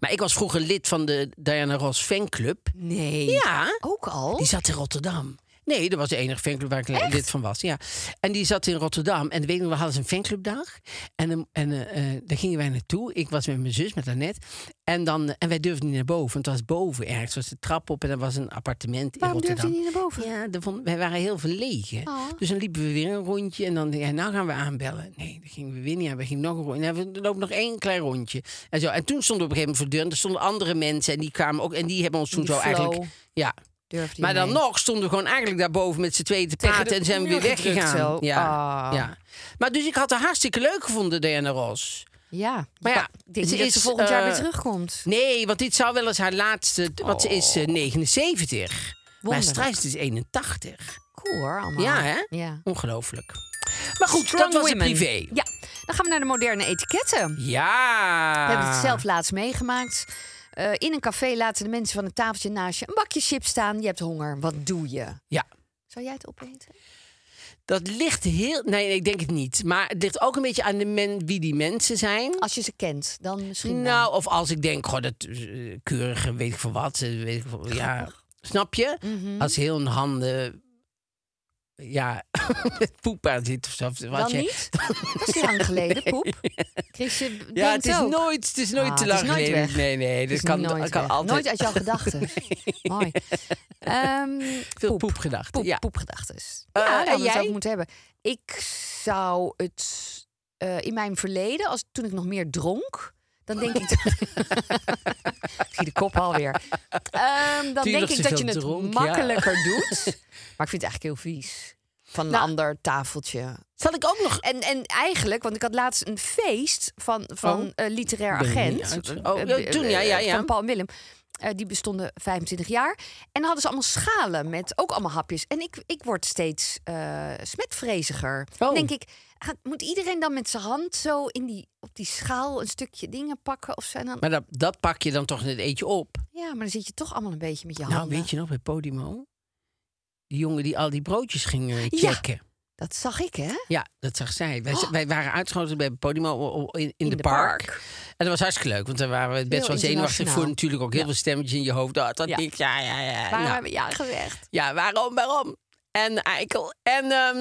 C: Maar ik was vroeger lid van de Diana Ross fanclub.
B: Nee.
C: Ja.
B: Ook al?
C: Die zat in Rotterdam. Nee, dat was de enige fanclub waar ik lid van was. Ja. En die zat in Rotterdam. En weet ik nog, we hadden ze een fanclubdag. En, dan- en eh, eh, daar gingen wij naartoe. Ik was met mijn zus, met Annette. En, dan, eh, en wij durfden niet naar boven. Want het was boven ergens. Het was de trap op en er was een appartement
B: Waarom
C: in
B: durfde
C: Rotterdam.
B: je niet naar boven?
C: Ja, daar vond- wij waren heel verlegen.
B: Oh.
C: Dus dan liepen we weer een rondje. En dan, ja, nou gaan we aanbellen. Nee, dat gingen we weer niet aan. We gingen nog een rondje. En we lopen nog één klein rondje. En, zo. en toen stonden we op een gegeven moment voor de deur. En er stonden andere mensen. En die kwamen ook. En die hebben ons toen
B: Die
C: zo
B: flow.
C: eigenlijk... Ja,
B: Durfde je
C: maar dan
B: mee?
C: nog stonden we gewoon eigenlijk daarboven met z'n tweeën te
B: Tegen
C: praten
B: de
C: en zijn we weer
B: muur gedrukt
C: weggegaan.
B: zo.
C: Ja.
B: Ah.
C: ja. Maar dus ik had het hartstikke leuk gevonden, Diana Ross.
B: Ja.
C: Maar ja,
B: ik denk
C: ze
B: niet dat
C: is,
B: ze volgend jaar
C: eh,
B: weer terugkomt.
C: Nee, want dit zou wel eens haar laatste. Want ze is
B: Oh.
C: eh, 79. Maar Strijs is dus 81.
B: Cool hoor, allemaal.
C: Ja, hè?
B: Ja.
C: Ongelooflijk. Maar goed, dat was het
B: women.
C: privé.
B: Ja, dan gaan we naar de moderne etiketten.
C: Ja.
B: We
C: Ah.
B: hebben het zelf laatst meegemaakt. Eh, in een café laten de mensen van het tafeltje naast je een bakje chips staan. Je hebt honger. Wat doe je?
C: Ja.
B: Zou jij het opeten?
C: Dat ligt heel. Nee, ik denk het niet. Maar het ligt ook een beetje aan de men, wie die mensen zijn.
B: Als je ze kent, dan misschien. wel.
C: Nou, of als ik denk, goh, dat eh, keurige, weet ik van wat. eh, Weet ik van, ja, snap je?
B: Mhm.
C: Als heel een handen. Ja, met poep aan zit of zo. of wat
B: dan
C: je-
B: niet? Dat is lang geleden, poep. Chrisje
C: Ja,
B: denkt
C: het is,
B: ook.
C: nooit, het is nooit
B: Ah,
C: te
B: het is
C: lang
B: nooit
C: geleden.
B: weg.
C: Nee, nee,
B: Het
C: dat
B: is
C: kan,
B: nooit,
C: kan
B: weg.
C: altijd.
B: nooit uit jouw gedachten. Mooi. Ehm
C: Veel
B: poep.
C: poepgedachten,
B: Poep,
C: ja.
B: Poepgedachten.
C: Eh,
B: ja,
C: en
B: daar hadden we het
C: jij?
B: over moeten hebben. Ik zou het eh, in mijn verleden, als, toen ik nog meer dronk, dan denk ik. Zie de kop alweer. Ehm, dan
C: Toen je nog
B: denk ik dat
C: zoveel
B: je het
C: dronk, ja.
B: makkelijker doet. Maar ik vind het eigenlijk heel vies. Van een ander tafeltje.
C: Nou, Zal ik ook nog.
B: En, en eigenlijk, want ik had laatst een feest van, van
C: Oh.
B: eh, literair
C: Ben je niet
B: agent.
C: uit- oh,
B: eh,
C: ja, toen, ja, ja,
B: eh,
C: ja.
B: Van Paul en Willem. Eh, die bestonden 25 jaar. En dan hadden ze allemaal schalen met ook allemaal hapjes. En ik, ik word steeds eh smetvreziger.
C: Oh.
B: denk ik, gaat, moet iedereen dan met zijn hand zo in die, op die schaal een stukje dingen pakken? Of zijn dan,
C: Maar dat, dat pak je dan toch in het eetje op.
B: ja, maar dan zit je toch allemaal een beetje met je
C: Nou,
B: handen.
C: weet je nog, bij Podimo? Die jongen die al die broodjes ging eh,
B: Ja.
C: checken. Ja.
B: Dat zag ik, hè?
C: dat zag zij. Wij,
B: Oh.
C: wij waren uitgenodigd bij Podimo o- o- in, in, de,
B: de
C: park.
B: park.
C: En dat was hartstikke leuk, want daar waren we best
B: Heel
C: wel zenuwachtig voor.
B: internationaal.
C: Natuurlijk ook heel veel stemmetjes in je hoofd. Dat, dat
B: Ja.
C: niet, ja, ja, ja.
B: Waarom
C: Nou,
B: hebben we ja gezegd?
C: Ja, waarom, waarom? En eikel. En, ehm,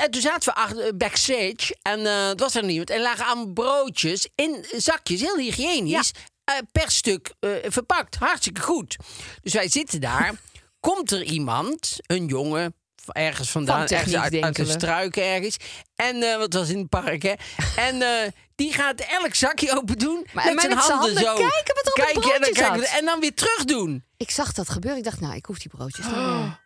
C: en toen zaten we achter, backstage en eh, het was er niemand. En lagen aan broodjes in zakjes, heel hygiënisch, eh, per stuk eh, verpakt. Hartstikke goed. Dus wij zitten daar. Komt er iemand, een jongen, van ergens vandaan,
B: techniek
C: ergens uit, uit de
B: denkelen.
C: struiken ergens. En eh wat was in het park, hè? En eh, die gaat elk zakje open doen.
B: Maar-
C: met
B: maar
C: zijn
B: met zijn
C: handen,
B: handen
C: zo.
B: kijken wat er op het
C: en dan,
B: broodje
C: kijken,
B: zat.
C: en dan weer terug doen.
B: Ik zag dat gebeuren. Ik dacht, nou, ik hoef die broodjes niet meer.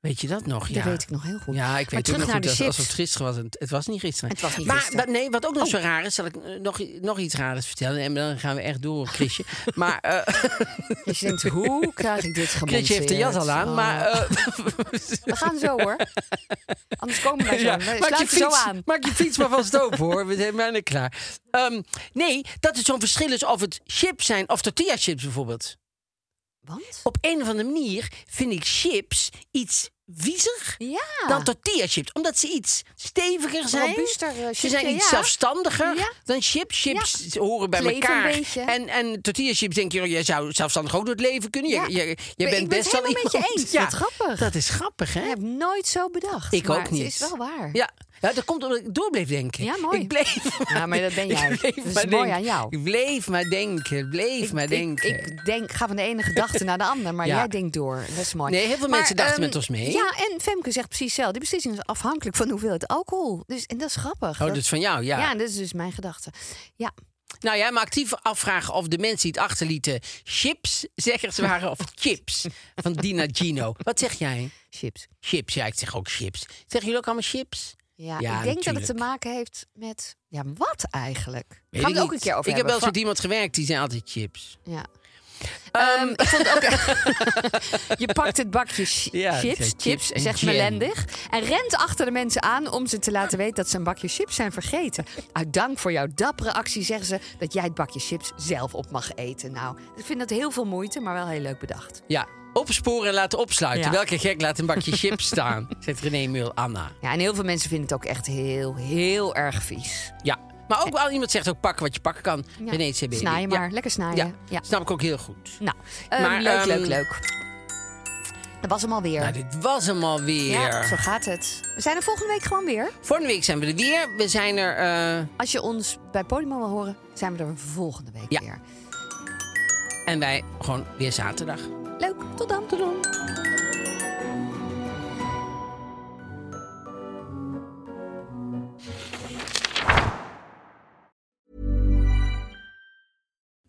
C: Weet je dat nog?
B: Dat
C: Oh, ja.
B: weet ik nog heel goed.
C: Ja, ik
B: maar
C: weet
B: terug
C: ook nog goed
B: naar de
C: als,
B: chips.
C: als het gisteren was. Het, het was niet gisteren.
B: Het was niet
C: maar,
B: gisteren. Oh.
C: wa- nee, wat ook nog zo raar is, zal ik eh, nog, nog iets raars vertellen. En dan gaan we echt door, Chrisje. maar eh
B: Dat je denkt, hoe krijg ik dit gemonteerd?
C: Chrisje heeft de jas al aan.
B: Oh.
C: Maar, eh,
B: We gaan zo, hoor. Anders komen wij zo.
C: ja,
B: We sluiten zo
C: fiets,
B: aan.
C: maak je fiets maar van stoop, hoor. We zijn bijna klaar. Ehm, nee, dat het zo'n verschil is of het chips zijn of tortilla chips bijvoorbeeld.
B: Want?
C: Op een of andere manier vind ik chips iets viezig
B: Ja.
C: dan tortilla chips. Omdat ze iets steviger zijn.
B: Robuuster, eh,
C: ze
B: chipje,
C: zijn iets
B: ja.
C: zelfstandiger
B: Ja.
C: dan chips. Chips horen bij
B: Kleven een
C: elkaar.
B: beetje.
C: En, en tortilla chips denk je, oh, jij zou zelfstandig ook door het leven kunnen. Je,
B: Ja.
C: je, je
B: ik
C: bent
B: ben
C: best
B: het
C: wel
B: helemaal met je
C: iemand.
B: eens. Wat grappig.
C: Dat is grappig, hè?
B: Ik heb nooit zo bedacht.
C: Ik
B: maar
C: ook niet.
B: het is wel waar.
C: Ja. ja, dat komt omdat ik door bleef denken.
B: Ja, mooi.
C: Ik bleef
B: Ja, maar dat ben
C: ik
B: jij.
C: bleef
B: Dat is
C: maar
B: mooi
C: denken.
B: aan jou.
C: Ik bleef maar denken, bleef maar denken.
B: Ik, denk, ga van de ene gedachte naar de ander, maar
C: Ja.
B: jij denkt door. Dat is mooi. ehm,
C: Nee, heel veel mensen dachten met ons mee.
B: Ja, en Femke zegt precies zelf. Die beslissing is afhankelijk van de hoeveelheid alcohol. Dus, en dat is grappig.
C: Oh, dat is van jou, ja.
B: ja. en dat is dus mijn gedachte. Ja,
C: Nou ja, maar actief afvragen of de mensen die het achterlieten chips zeggers waren of chips van Dina Gino. Wat zeg jij?
B: chips.
C: Chips, ja, ik zeg ook chips. Zeggen jullie ook allemaal chips?
B: Ja, ik
C: Ja,
B: denk dat het te
C: natuurlijk.
B: maken heeft met... Ja, wat eigenlijk?
C: Weet
B: Gaan we
C: ik
B: het ook een
C: niet.
B: keer over
C: Ik heb
B: hebben.
C: wel eens met iemand gewerkt, die zei altijd chips.
B: Fra- Ja. Ehm, ik vond ook... je pakt het bakje chi-
C: Ja, het
B: chips,
C: zijn
B: chips,
C: chips en
B: zegt
C: jam.
B: Melendig. En rent achter de mensen aan om ze te laten weten dat ze een bakje chips zijn vergeten. Uit dank voor jouw dappere actie zeggen ze dat jij het bakje chips zelf op mag eten. Nou, ik vind dat heel veel moeite, maar wel heel leuk bedacht.
C: Ja, opsporen en laten opsluiten.
B: Ja.
C: Welke gek laat een bakje chips staan? Zegt René Mul, Anna.
B: Ja, en heel veel mensen vinden het ook echt heel, heel erg vies.
C: Ja, maar ook wel iemand zegt ook pak wat je pakken kan.
B: Ja.
C: René CB.
B: Snaaien maar, lekker snaaien.
C: Ja.
B: Ja.
C: snap ik ook heel goed.
B: Nou, ehm,
C: Maar,
B: leuk,
C: ehm,
B: leuk, leuk. Dat was hem alweer.
C: Nou, dit was hem alweer.
B: Ja, zo gaat het. We zijn er volgende week gewoon weer.
C: Volgende week zijn we er weer. We zijn er... eh,
B: Als je ons bij Podimo wil horen, zijn we er volgende week
C: Ja.
B: weer.
C: en wij gewoon weer zaterdag.
B: Leuk, tot dan. Tot dan.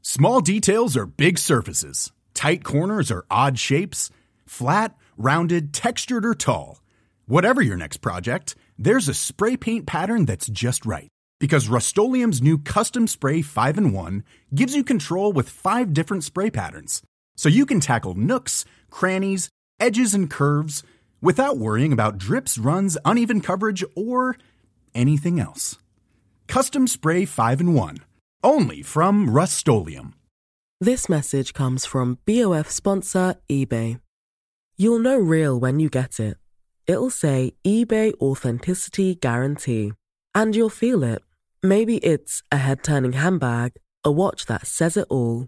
D: Small details are big surfaces. Tight corners are odd shapes. Flat, rounded, textured, or tall. Whatever your next project, there's a spray paint pattern that's just right. Because Rust new Custom Spray 5 in 1 gives you control with five different spray patterns. So you can tackle nooks, crannies, edges, and curves without worrying about drips, runs, uneven coverage, or anything else. Custom Spray 5 in 1. Only from Rust
E: This message comes from BOF sponsor eBay. You'll know real when you get it. It'll say eBay Authenticity Guarantee. And you'll feel it. Maybe it's a head turning handbag, a watch that says it all,